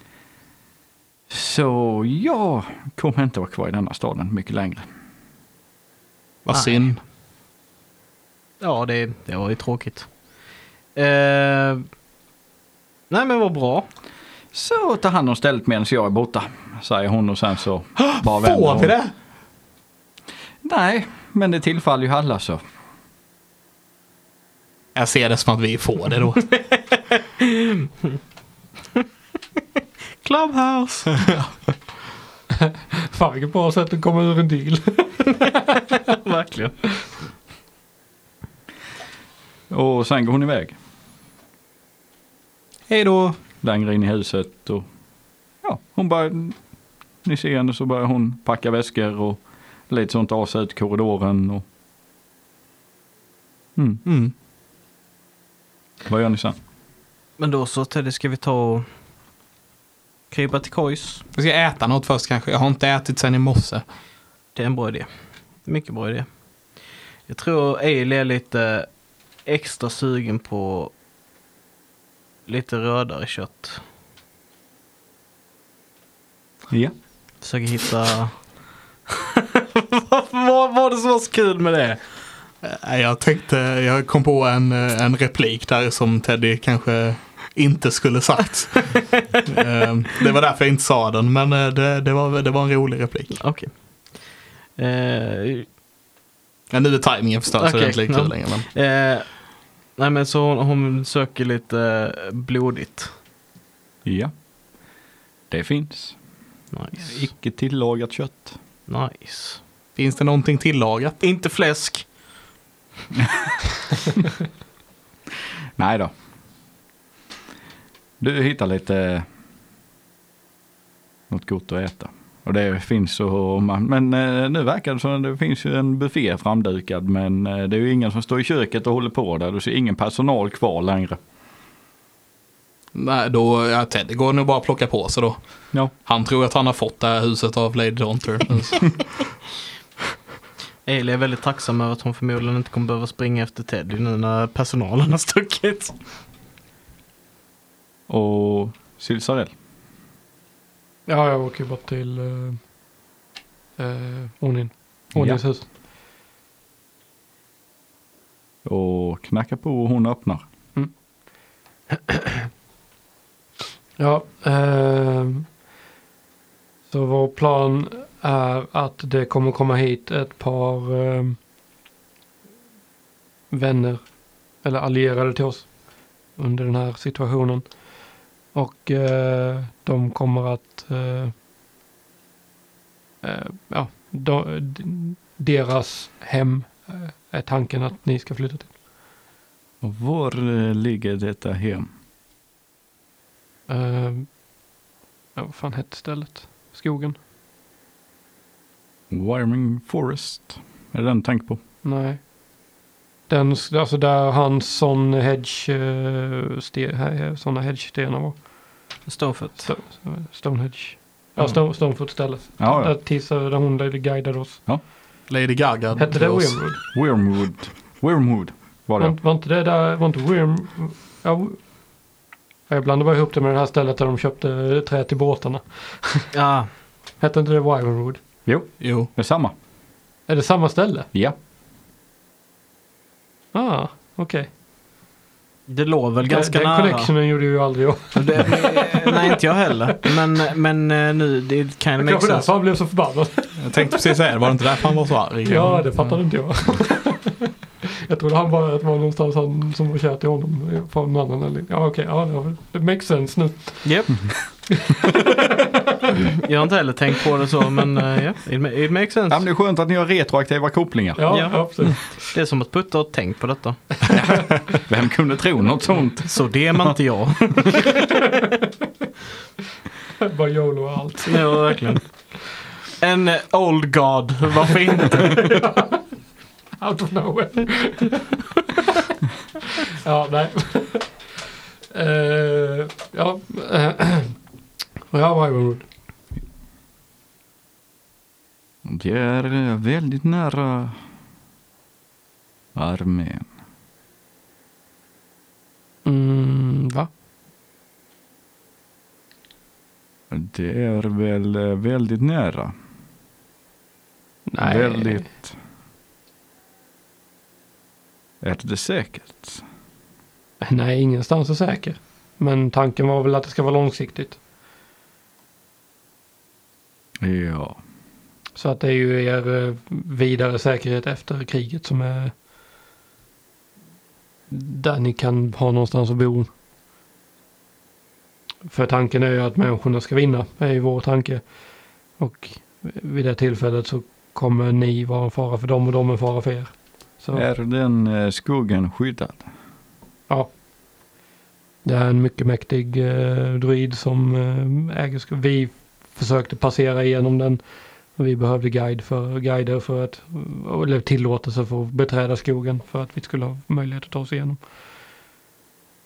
Speaker 4: Så jag kommer inte vara kvar i denna staden mycket längre.
Speaker 1: Vad
Speaker 5: Nej.
Speaker 1: synd.
Speaker 5: Ja, det, det var ju tråkigt. Eh, nej, men vad bra.
Speaker 4: Så ta hand om stället medan jag är borta, säger hon och sen så bara
Speaker 1: *gasps*
Speaker 4: vänder
Speaker 1: Får
Speaker 4: hon.
Speaker 1: vi det?
Speaker 4: Nej, men det tillfaller ju alla så.
Speaker 5: *laughs*
Speaker 1: Jag ser det som att vi får det då. house. *laughs*
Speaker 3: Fan vilket bra sätt att komma ur en deal.
Speaker 5: Verkligen.
Speaker 4: Och sen går hon iväg.
Speaker 5: Hej då.
Speaker 4: längre in i huset och ja, hon börjar, ni ser henne så börjar hon packa väskor och lite sånt av sig ut i korridoren och mm.
Speaker 1: Mm.
Speaker 4: vad gör ni sen?
Speaker 5: Men då så Teddy, ska vi ta och krypa till kojs?
Speaker 1: Jag ska äta något först kanske. Jag har inte ätit sen i morse.
Speaker 5: Det är en bra idé. Mycket bra idé. Jag tror Eil är lite extra sugen på lite rödare kött.
Speaker 4: Ja.
Speaker 5: Försöker *laughs* hitta... Varför var, var det så kul med det?
Speaker 1: Nej, Eh, Jag tänkte, jag kom på en, eh, en replik där som Teddy kanske inte skulle
Speaker 5: *laughs*
Speaker 1: sagt. Ehm, det var därför jag inte sa den, men eh, det, det, var, det var en rolig replik.
Speaker 5: Okej. Eh,
Speaker 1: Ja, nu är tajmingen förstörd så det är inte
Speaker 5: Okej,
Speaker 1: lika kul
Speaker 5: ja.
Speaker 1: längre. Men...
Speaker 5: eh, nej men så hon, hon söker lite eh, blodigt.
Speaker 4: ja. Det finns.
Speaker 5: Nice.
Speaker 4: Icke tillagat kött.
Speaker 5: Nice.
Speaker 1: Finns det någonting tillagat?
Speaker 5: Inte fläsk.
Speaker 4: Nej då. Du hittar lite eh, något gott att äta. Och det finns så man, men eh, nu verkar det som att det finns ju en buffé framdukad men eh, det är ju ingen som står i köket och håller på där. Du ser ingen personal kvar längre.
Speaker 1: Nej, då, ja, Teddy går nog bara att plocka på sig då.
Speaker 4: Ja.
Speaker 1: Han tror att han har fått det här huset av Lady
Speaker 5: *laughs*
Speaker 1: Daunter. Alltså,
Speaker 5: Eli är väldigt tacksam över att hon förmodligen inte kommer behöva springa efter Teddy nu när personalen har stuckit.
Speaker 4: Och Silsarell.
Speaker 3: Ja, jag åker bort till uh, Onin. Onins hus.
Speaker 4: Och knackar på och hon öppnar.
Speaker 3: Ja, ehm, så vår plan är att det kommer komma hit ett par ehm, vänner eller allierade till oss under den här situationen. Och eh, de kommer att eh, eh, ja, de, d- deras hem eh, är tanken att ni ska flytta till.
Speaker 4: Och var eh, ligger detta hem?
Speaker 3: Ehm, ja, vad fan hette stället? Skogen?
Speaker 4: Wyoming Forest. Är det den du tänker på?
Speaker 3: Nej. Den, alltså där hans sån hedge, eh, ste, he- såna hedgestenar var.
Speaker 5: Stofet.
Speaker 3: Sto- Stonehedge. Ja,
Speaker 4: Ja.
Speaker 5: Mm.
Speaker 3: Stone, Stonefoot stället.
Speaker 5: Ah,
Speaker 4: Ja, ja.
Speaker 3: Där Tissa, där hon där guidade oss.
Speaker 1: Lady Gaga.
Speaker 3: Hette det
Speaker 1: drog oss-
Speaker 3: Wormwood?
Speaker 4: Wormwood. Wormwood var det.
Speaker 3: Var, var inte det där, var inte Worm... Ja, w- ja, jag blandade bara ihop det med det här stället där de köpte eh, trä till båtarna.
Speaker 5: Ja,
Speaker 3: Hette inte det Wyvernwood?
Speaker 4: Jo,
Speaker 1: Jo.
Speaker 4: det är samma.
Speaker 3: Är det samma ställe?
Speaker 4: Ja.
Speaker 3: Ah, okej.
Speaker 5: det låg väl ganska
Speaker 3: den, den
Speaker 5: nära.
Speaker 3: connectionen gjorde ju aldrig jag.
Speaker 5: Det, *laughs* nej, inte jag heller. Men, men eh, nu, det kan
Speaker 3: Kanske
Speaker 5: make
Speaker 3: därför *laughs*
Speaker 5: sense.
Speaker 3: han blev så förbannad.
Speaker 1: Jag tänkte precis säga det, var det inte därför han var så arg?
Speaker 3: Ja, det fattade inte jag. *laughs* jag trodde han bara att det var någonstans han som var kär till honom. Från någon annan. eller- Ja, okej. ja, det- det makes sense nu.
Speaker 5: Japp. jag har inte heller tänkt på det så, men eh, ja, it, ma- it makes sense.
Speaker 4: Ja, men det är skönt att ni har retroaktiva kopplingar.
Speaker 3: Ja,
Speaker 5: Ja.
Speaker 3: ja. precis. *laughs*
Speaker 5: Det är som att Putte har tänkt på detta.
Speaker 4: Vem kunde tro något sånt?
Speaker 5: Så det är man inte jag.
Speaker 3: bara YOLO och allt.
Speaker 5: *laughs* ja, verkligen. En eh, old god, varför inte?
Speaker 3: Out of nowhere. *laughs* ja, nej. *laughs* Eh, ja. *clears throat* ja, Wyvernwood.
Speaker 4: Det är eh, väldigt nära armén.
Speaker 3: Mm, va?
Speaker 4: Det är väl eh, väldigt nära.
Speaker 3: Nej.
Speaker 4: Väldigt. Är det säkert?
Speaker 3: Nej, ingenstans är säker. Men tanken var väl att det ska vara långsiktigt.
Speaker 4: Ja.
Speaker 3: Så att det är ju er eh, vidare säkerhet efter kriget som är där ni kan ha någonstans att bo. För tanken är ju att människorna ska vinna, är ju vår tanke. Och vid det tillfället så kommer ni vara en fara för dem och de en fara för er. Så
Speaker 4: Är den eh, skuggan skyddad?
Speaker 3: ja. Det är en mycket mäktig eh, druid som eh, äger sk- Vi försökte passera igenom den. Och vi behövde guide för, guider för att, eller tillåtelse för att beträda skogen för att vi skulle ha möjlighet att ta oss igenom.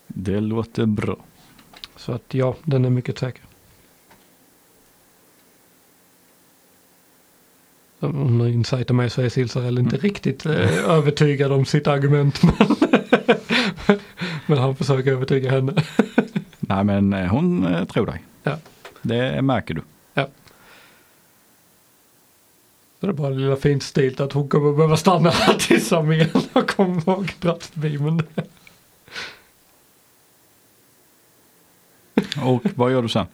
Speaker 4: Det låter bra.
Speaker 3: Så att ja, den är mycket säker. Om ni insightar mig så är Silsarell inte riktigt eh, övertygad om sitt argument. *laughs* Men, men han försöker övertyga henne.
Speaker 4: Nej men eh, hon eh, tror dig.
Speaker 3: Ja.
Speaker 4: Det märker du.
Speaker 3: Så det är bara det lilla fint stilt att hon kommer behöva stanna här *laughs* tills armén har kommit ihåg draftbeamen.
Speaker 4: Och vad gör du sen?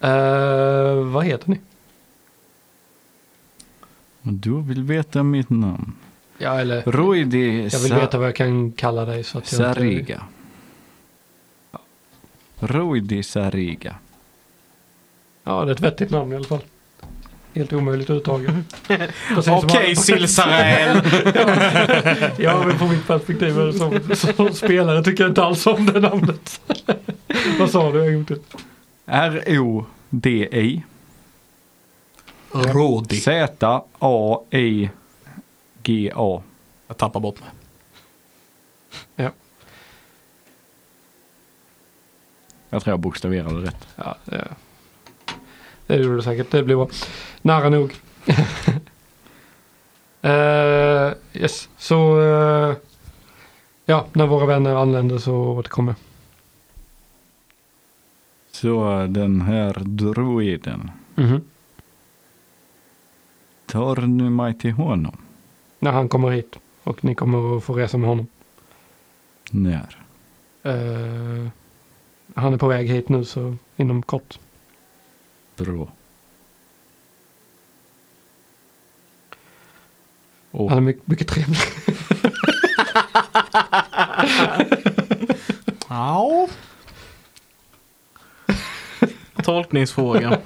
Speaker 3: Eh, vad heter ni?
Speaker 4: Du vill veta mitt namn.
Speaker 3: Ja, eller
Speaker 4: Roidi
Speaker 3: jag vill veta vad jag kan kalla dig. Så att jag inte...
Speaker 4: Sariga. Roidi Sariga.
Speaker 3: Ja, det är ett vettigt namn i alla fall. Helt omöjligt att uttaga. *laughs* Precis som
Speaker 5: Okej Silsarell!
Speaker 3: Ja, men från mitt perspektiv är det som, som spelare tycker jag inte alls om det namnet. *laughs* Vad sa du? Jag gjorde inte.
Speaker 4: R-O-D-I.
Speaker 1: Rådig.
Speaker 4: Z-A-I-G-A.
Speaker 1: Jag tappar bort mig.
Speaker 4: Jag tror jag bokstaverade rätt.
Speaker 3: Ja, det, det gjorde du säkert. Det blir bra. Nära nog. *laughs* Eh, yes, så eh, ja, när våra vänner anländer så återkommer jag.
Speaker 4: Så den här droiden. Tar ni mig till honom?
Speaker 3: När han kommer hit och ni kommer att få resa med honom.
Speaker 4: När?
Speaker 3: Eh, han är på väg hit nu så inom kort.
Speaker 4: Bra.
Speaker 3: Han är mycket, mycket trevlig. *laughs*
Speaker 1: Ja.
Speaker 5: Tolkningsfråga.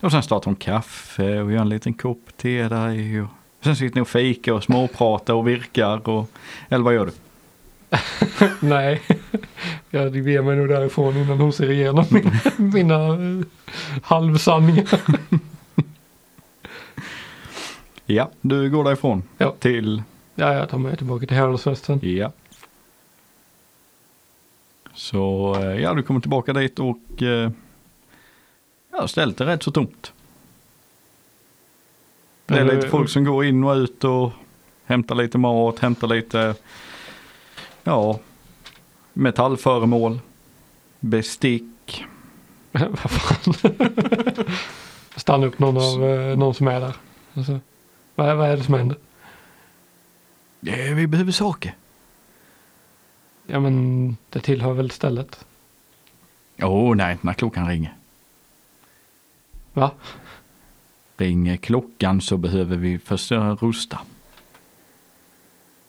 Speaker 4: Och sen startar hon kaffe och gör en liten kopp te där. Och sen sitter ni och fikar och småpratar och virkar. Och... Eller vad gör du?
Speaker 3: Nej, jag beger mig nog därifrån innan hon ser igenom *laughs* min, mina eh, halvsanningar.
Speaker 4: Ja, du går därifrån.
Speaker 3: Ja.
Speaker 4: Till...
Speaker 3: Ja, jag tar mig tillbaka till Heraldsfesten.
Speaker 4: Ja. Så eh, ja, du kommer tillbaka dit och eh, ja, stället är rätt så tomt. Det är
Speaker 3: Eller-
Speaker 4: lite folk som går in och ut och hämtar lite mat, hämtar lite ja, metallföremål, bestick.
Speaker 3: Vad fan. Stanna upp någon, av, eh, någon som är där. Alltså, vad, är- vad är det som händer?
Speaker 4: Eh, Vi behöver saker.
Speaker 3: Ja, men det tillhör väl stället.
Speaker 4: Åh nej, när klockan ringer.
Speaker 3: Va?
Speaker 4: Ringer klockan så behöver vi först eh, rusta.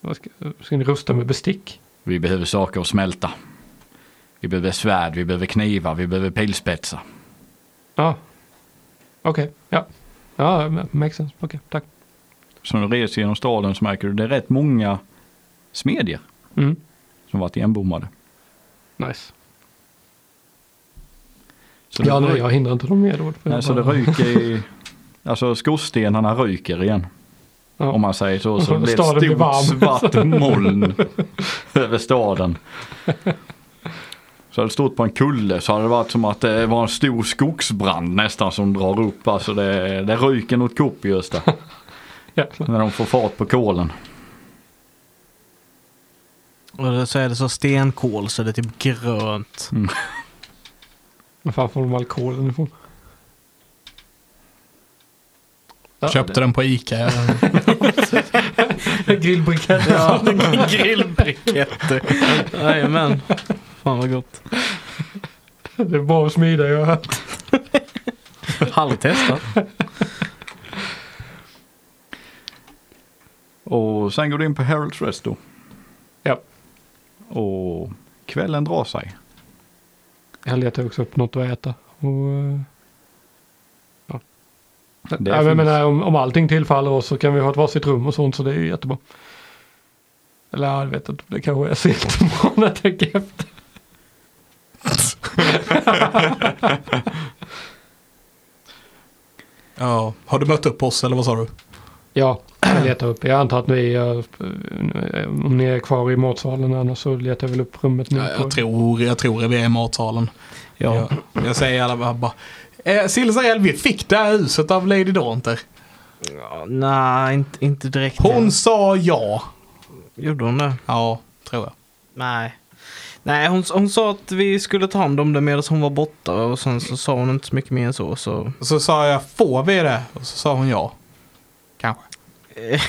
Speaker 3: Vad ska, ska ni rusta med bestick?
Speaker 4: Vi behöver saker att smälta. Vi behöver svärd, vi behöver knivar, vi behöver pilspetsar.
Speaker 3: Ja. Okej, ja. Ja, ma- makes sense. Okej, tack.
Speaker 4: Så när du reser genom staden så märker du det är rätt många smedjor
Speaker 3: Mm.
Speaker 4: som varit igenbommade.
Speaker 3: Nice.
Speaker 4: Så
Speaker 3: Ja,
Speaker 4: det,
Speaker 3: nej, jag hindrar inte dem mer då.
Speaker 4: nej, så det ryker i... Alltså skorstenarna ryker igen.
Speaker 3: Ja.
Speaker 4: Om man säger så. Så
Speaker 3: Och
Speaker 4: det blir ett
Speaker 3: staden
Speaker 4: stort
Speaker 3: blir varm.
Speaker 4: svart moln *laughs* över staden. Så hade det stått på en kulle så hade det varit som att det var en stor skogsbrand nästan som drar upp. Alltså det, det ryker något kopiöst där.
Speaker 3: Jäklar.
Speaker 4: När de får fart på kolen.
Speaker 5: Och så är det så stenkol så det är typ grönt.
Speaker 3: Var fan får de alkoholen ifrån? Ja,
Speaker 1: Köpte den på
Speaker 5: *laughs*
Speaker 1: Ica.
Speaker 3: det- Grillbriketter.
Speaker 5: Ja, grillbriketter. *laughs* Jajamän. Fan vad gott.
Speaker 3: *laughs* Det är bra att smida jag har hört.
Speaker 5: Halvtestat.
Speaker 4: Och sen går du in på Harold's Rest då.
Speaker 3: Ja.
Speaker 4: Och kvällen drar sig.
Speaker 3: han letar också upp något att äta. Och, eh, ja.
Speaker 4: Det
Speaker 3: ja, men jag
Speaker 4: finns.
Speaker 3: menar, om, om allting tillfaller oss så kan vi ha ett varsitt rum och sånt så det är ju jättebra. Eller ja, jag vet inte, det kanske är sent imorgon när jag tänker efter.
Speaker 1: Ja. Har du mött upp oss eller vad sa du?
Speaker 3: Ja, jag letar upp. Jag antar att ni, är, eh, om ni är kvar i matsalen annars så letar jag väl upp rummet nu.
Speaker 1: Ja,
Speaker 3: på-
Speaker 1: jag, tror, jag tror vi är i matsalen.
Speaker 5: Ja.
Speaker 1: Jag, jag säger alla bara- bara. Eh, Silsarell, vi fick det här huset av Lady Daunter.
Speaker 5: ja. Nej, inte, inte direkt.
Speaker 1: Hon sa ja.
Speaker 5: Gjorde hon det?
Speaker 1: Ja, tror jag.
Speaker 5: Nej. Nej, hon, hon sa att vi skulle ta hand om det medan hon var borta och sen så sa hon inte så mycket mer än så. så.
Speaker 1: Och så sa jag, får vi det? Och så sa hon ja. Kanske.
Speaker 5: Eh,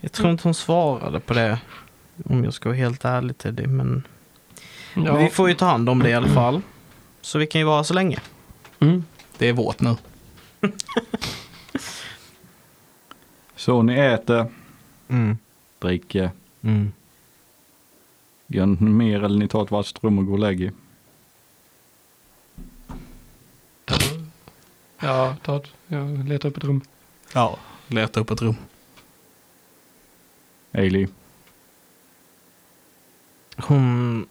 Speaker 5: Jag tror inte hon svarade på det. Om jag ska vara helt ärlig till dig. Men...
Speaker 3: Ja.
Speaker 5: men vi får ju ta hand om det i alla fall. Så vi kan ju vara så länge.
Speaker 3: Mm.
Speaker 1: Det är vårt nu.
Speaker 4: Så ni äter, dricker,
Speaker 5: Mm.
Speaker 4: gör ni mer eller ni tar ett vasst rum och går och lägger er?
Speaker 3: Ja, ta ett, jag letar upp ett rum.
Speaker 1: Ja, leta upp ett rum.
Speaker 4: Ailey,
Speaker 5: Hon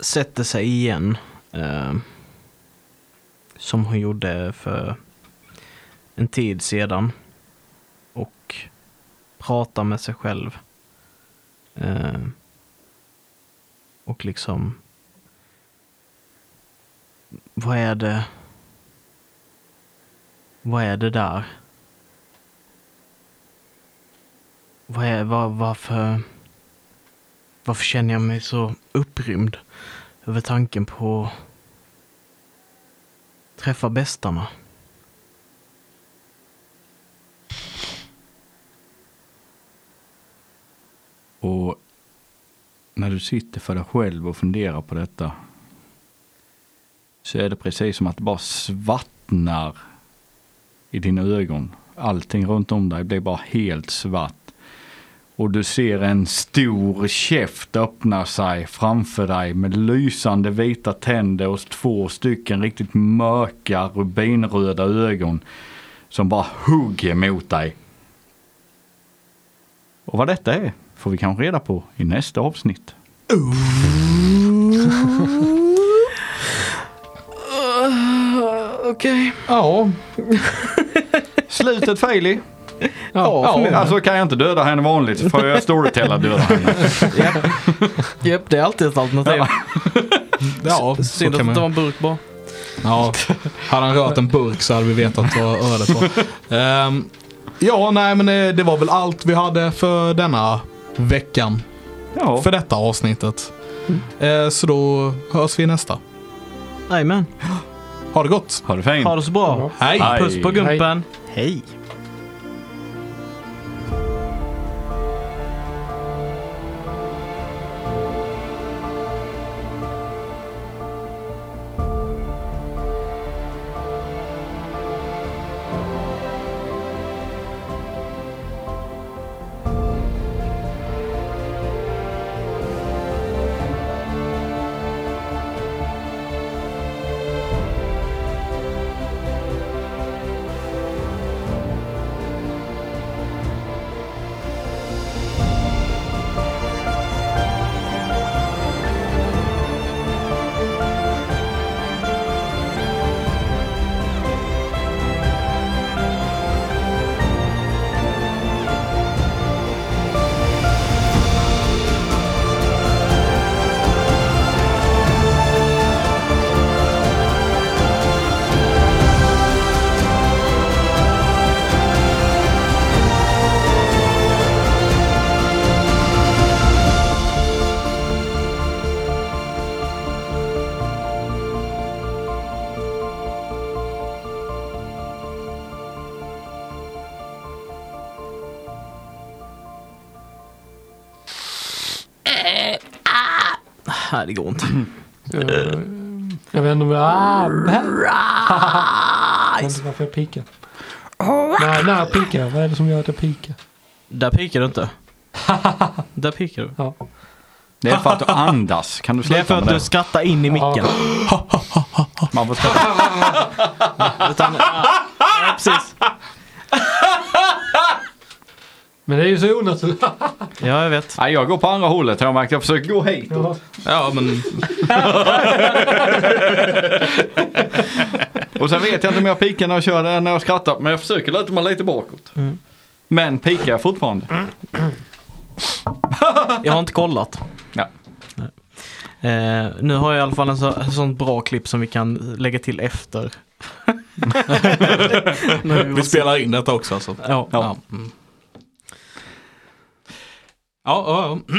Speaker 5: sätter sig igen. Eh, som hon gjorde för en tid sedan. Och pratar med sig själv. Eh, och liksom... Vad är det? Vad är det där? Vad är, var, varför? Varför känner jag mig så upprymd över tanken på att träffa bästarna?
Speaker 4: och när du sitter för dig själv och funderar på detta så är det precis som att det bara svartnar i dina ögon. Allting runt om dig blir bara helt svart. Och du ser en stor käft öppna sig framför dig med lysande vita tänder och två stycken riktigt mörka rubinröda ögon som bara hugger mot dig. Och vad detta är får vi kanske reda på i nästa avsnitt.
Speaker 5: Okej.
Speaker 1: Ja,
Speaker 4: Slutet Feili.
Speaker 5: Ja, förmodligen.
Speaker 4: alltså kan jag inte döda henne vanligt så får jag storytella döda
Speaker 5: *laughs*
Speaker 4: henne.
Speaker 5: Japp. Japp, det är alltid ett alternativ.
Speaker 1: ja så
Speaker 5: *laughs* Synd att
Speaker 1: kan
Speaker 5: det inte var
Speaker 1: man.
Speaker 5: en burk bara.
Speaker 1: Ja, hade han rört en burk så hade vi vetat vad ölet var. Ehm, ja, nej men eh, det var väl allt vi hade för denna veckan.
Speaker 4: Ja,
Speaker 1: För detta avsnittet. Eh, så då hörs vi i nästa.
Speaker 5: Jajamän.
Speaker 1: Ha det gott!
Speaker 4: ha det fint.
Speaker 5: Ha det så bra.
Speaker 1: Hej!
Speaker 4: Hej.
Speaker 5: Puss på gumpen. Hej. Nej, det går inte.
Speaker 3: Jag, jag vet inte om jag... Ah, jag vet inte varför jag pikar. Nej, nej, pikar. Vad är det som gör att jag pikar?
Speaker 5: *laughs* Där pikar du inte. Där pikar du.
Speaker 3: Ja.
Speaker 4: Det är för att du andas. Kan du
Speaker 5: Det är för
Speaker 4: sluta med
Speaker 5: att du
Speaker 4: det?
Speaker 5: skrattar in i micken.
Speaker 4: Man får skratta.
Speaker 5: *laughs* Utan, ja, ja, precis.
Speaker 3: Men det är ju så onaturligt.
Speaker 5: Ja, jag vet.
Speaker 4: Nej, jag går på andra hållet har jag märkt. Jag försöker gå hit.
Speaker 3: Ja.
Speaker 1: Ja, men
Speaker 4: Och sen vet jag inte om jag pikar när jag kör det, när jag skrattar. Men jag försöker luta mig lite bakåt.
Speaker 5: Mm.
Speaker 4: Men pikar jag fortfarande?
Speaker 5: Jag har inte kollat.
Speaker 4: Ja.
Speaker 5: Eh, nu har jag i alla fall en så, en sån bra klipp som vi kan lägga till efter. *laughs* Nej,
Speaker 1: vi spelar in detta också alltså.
Speaker 5: Ja. ja.
Speaker 1: Ja, ja, ja.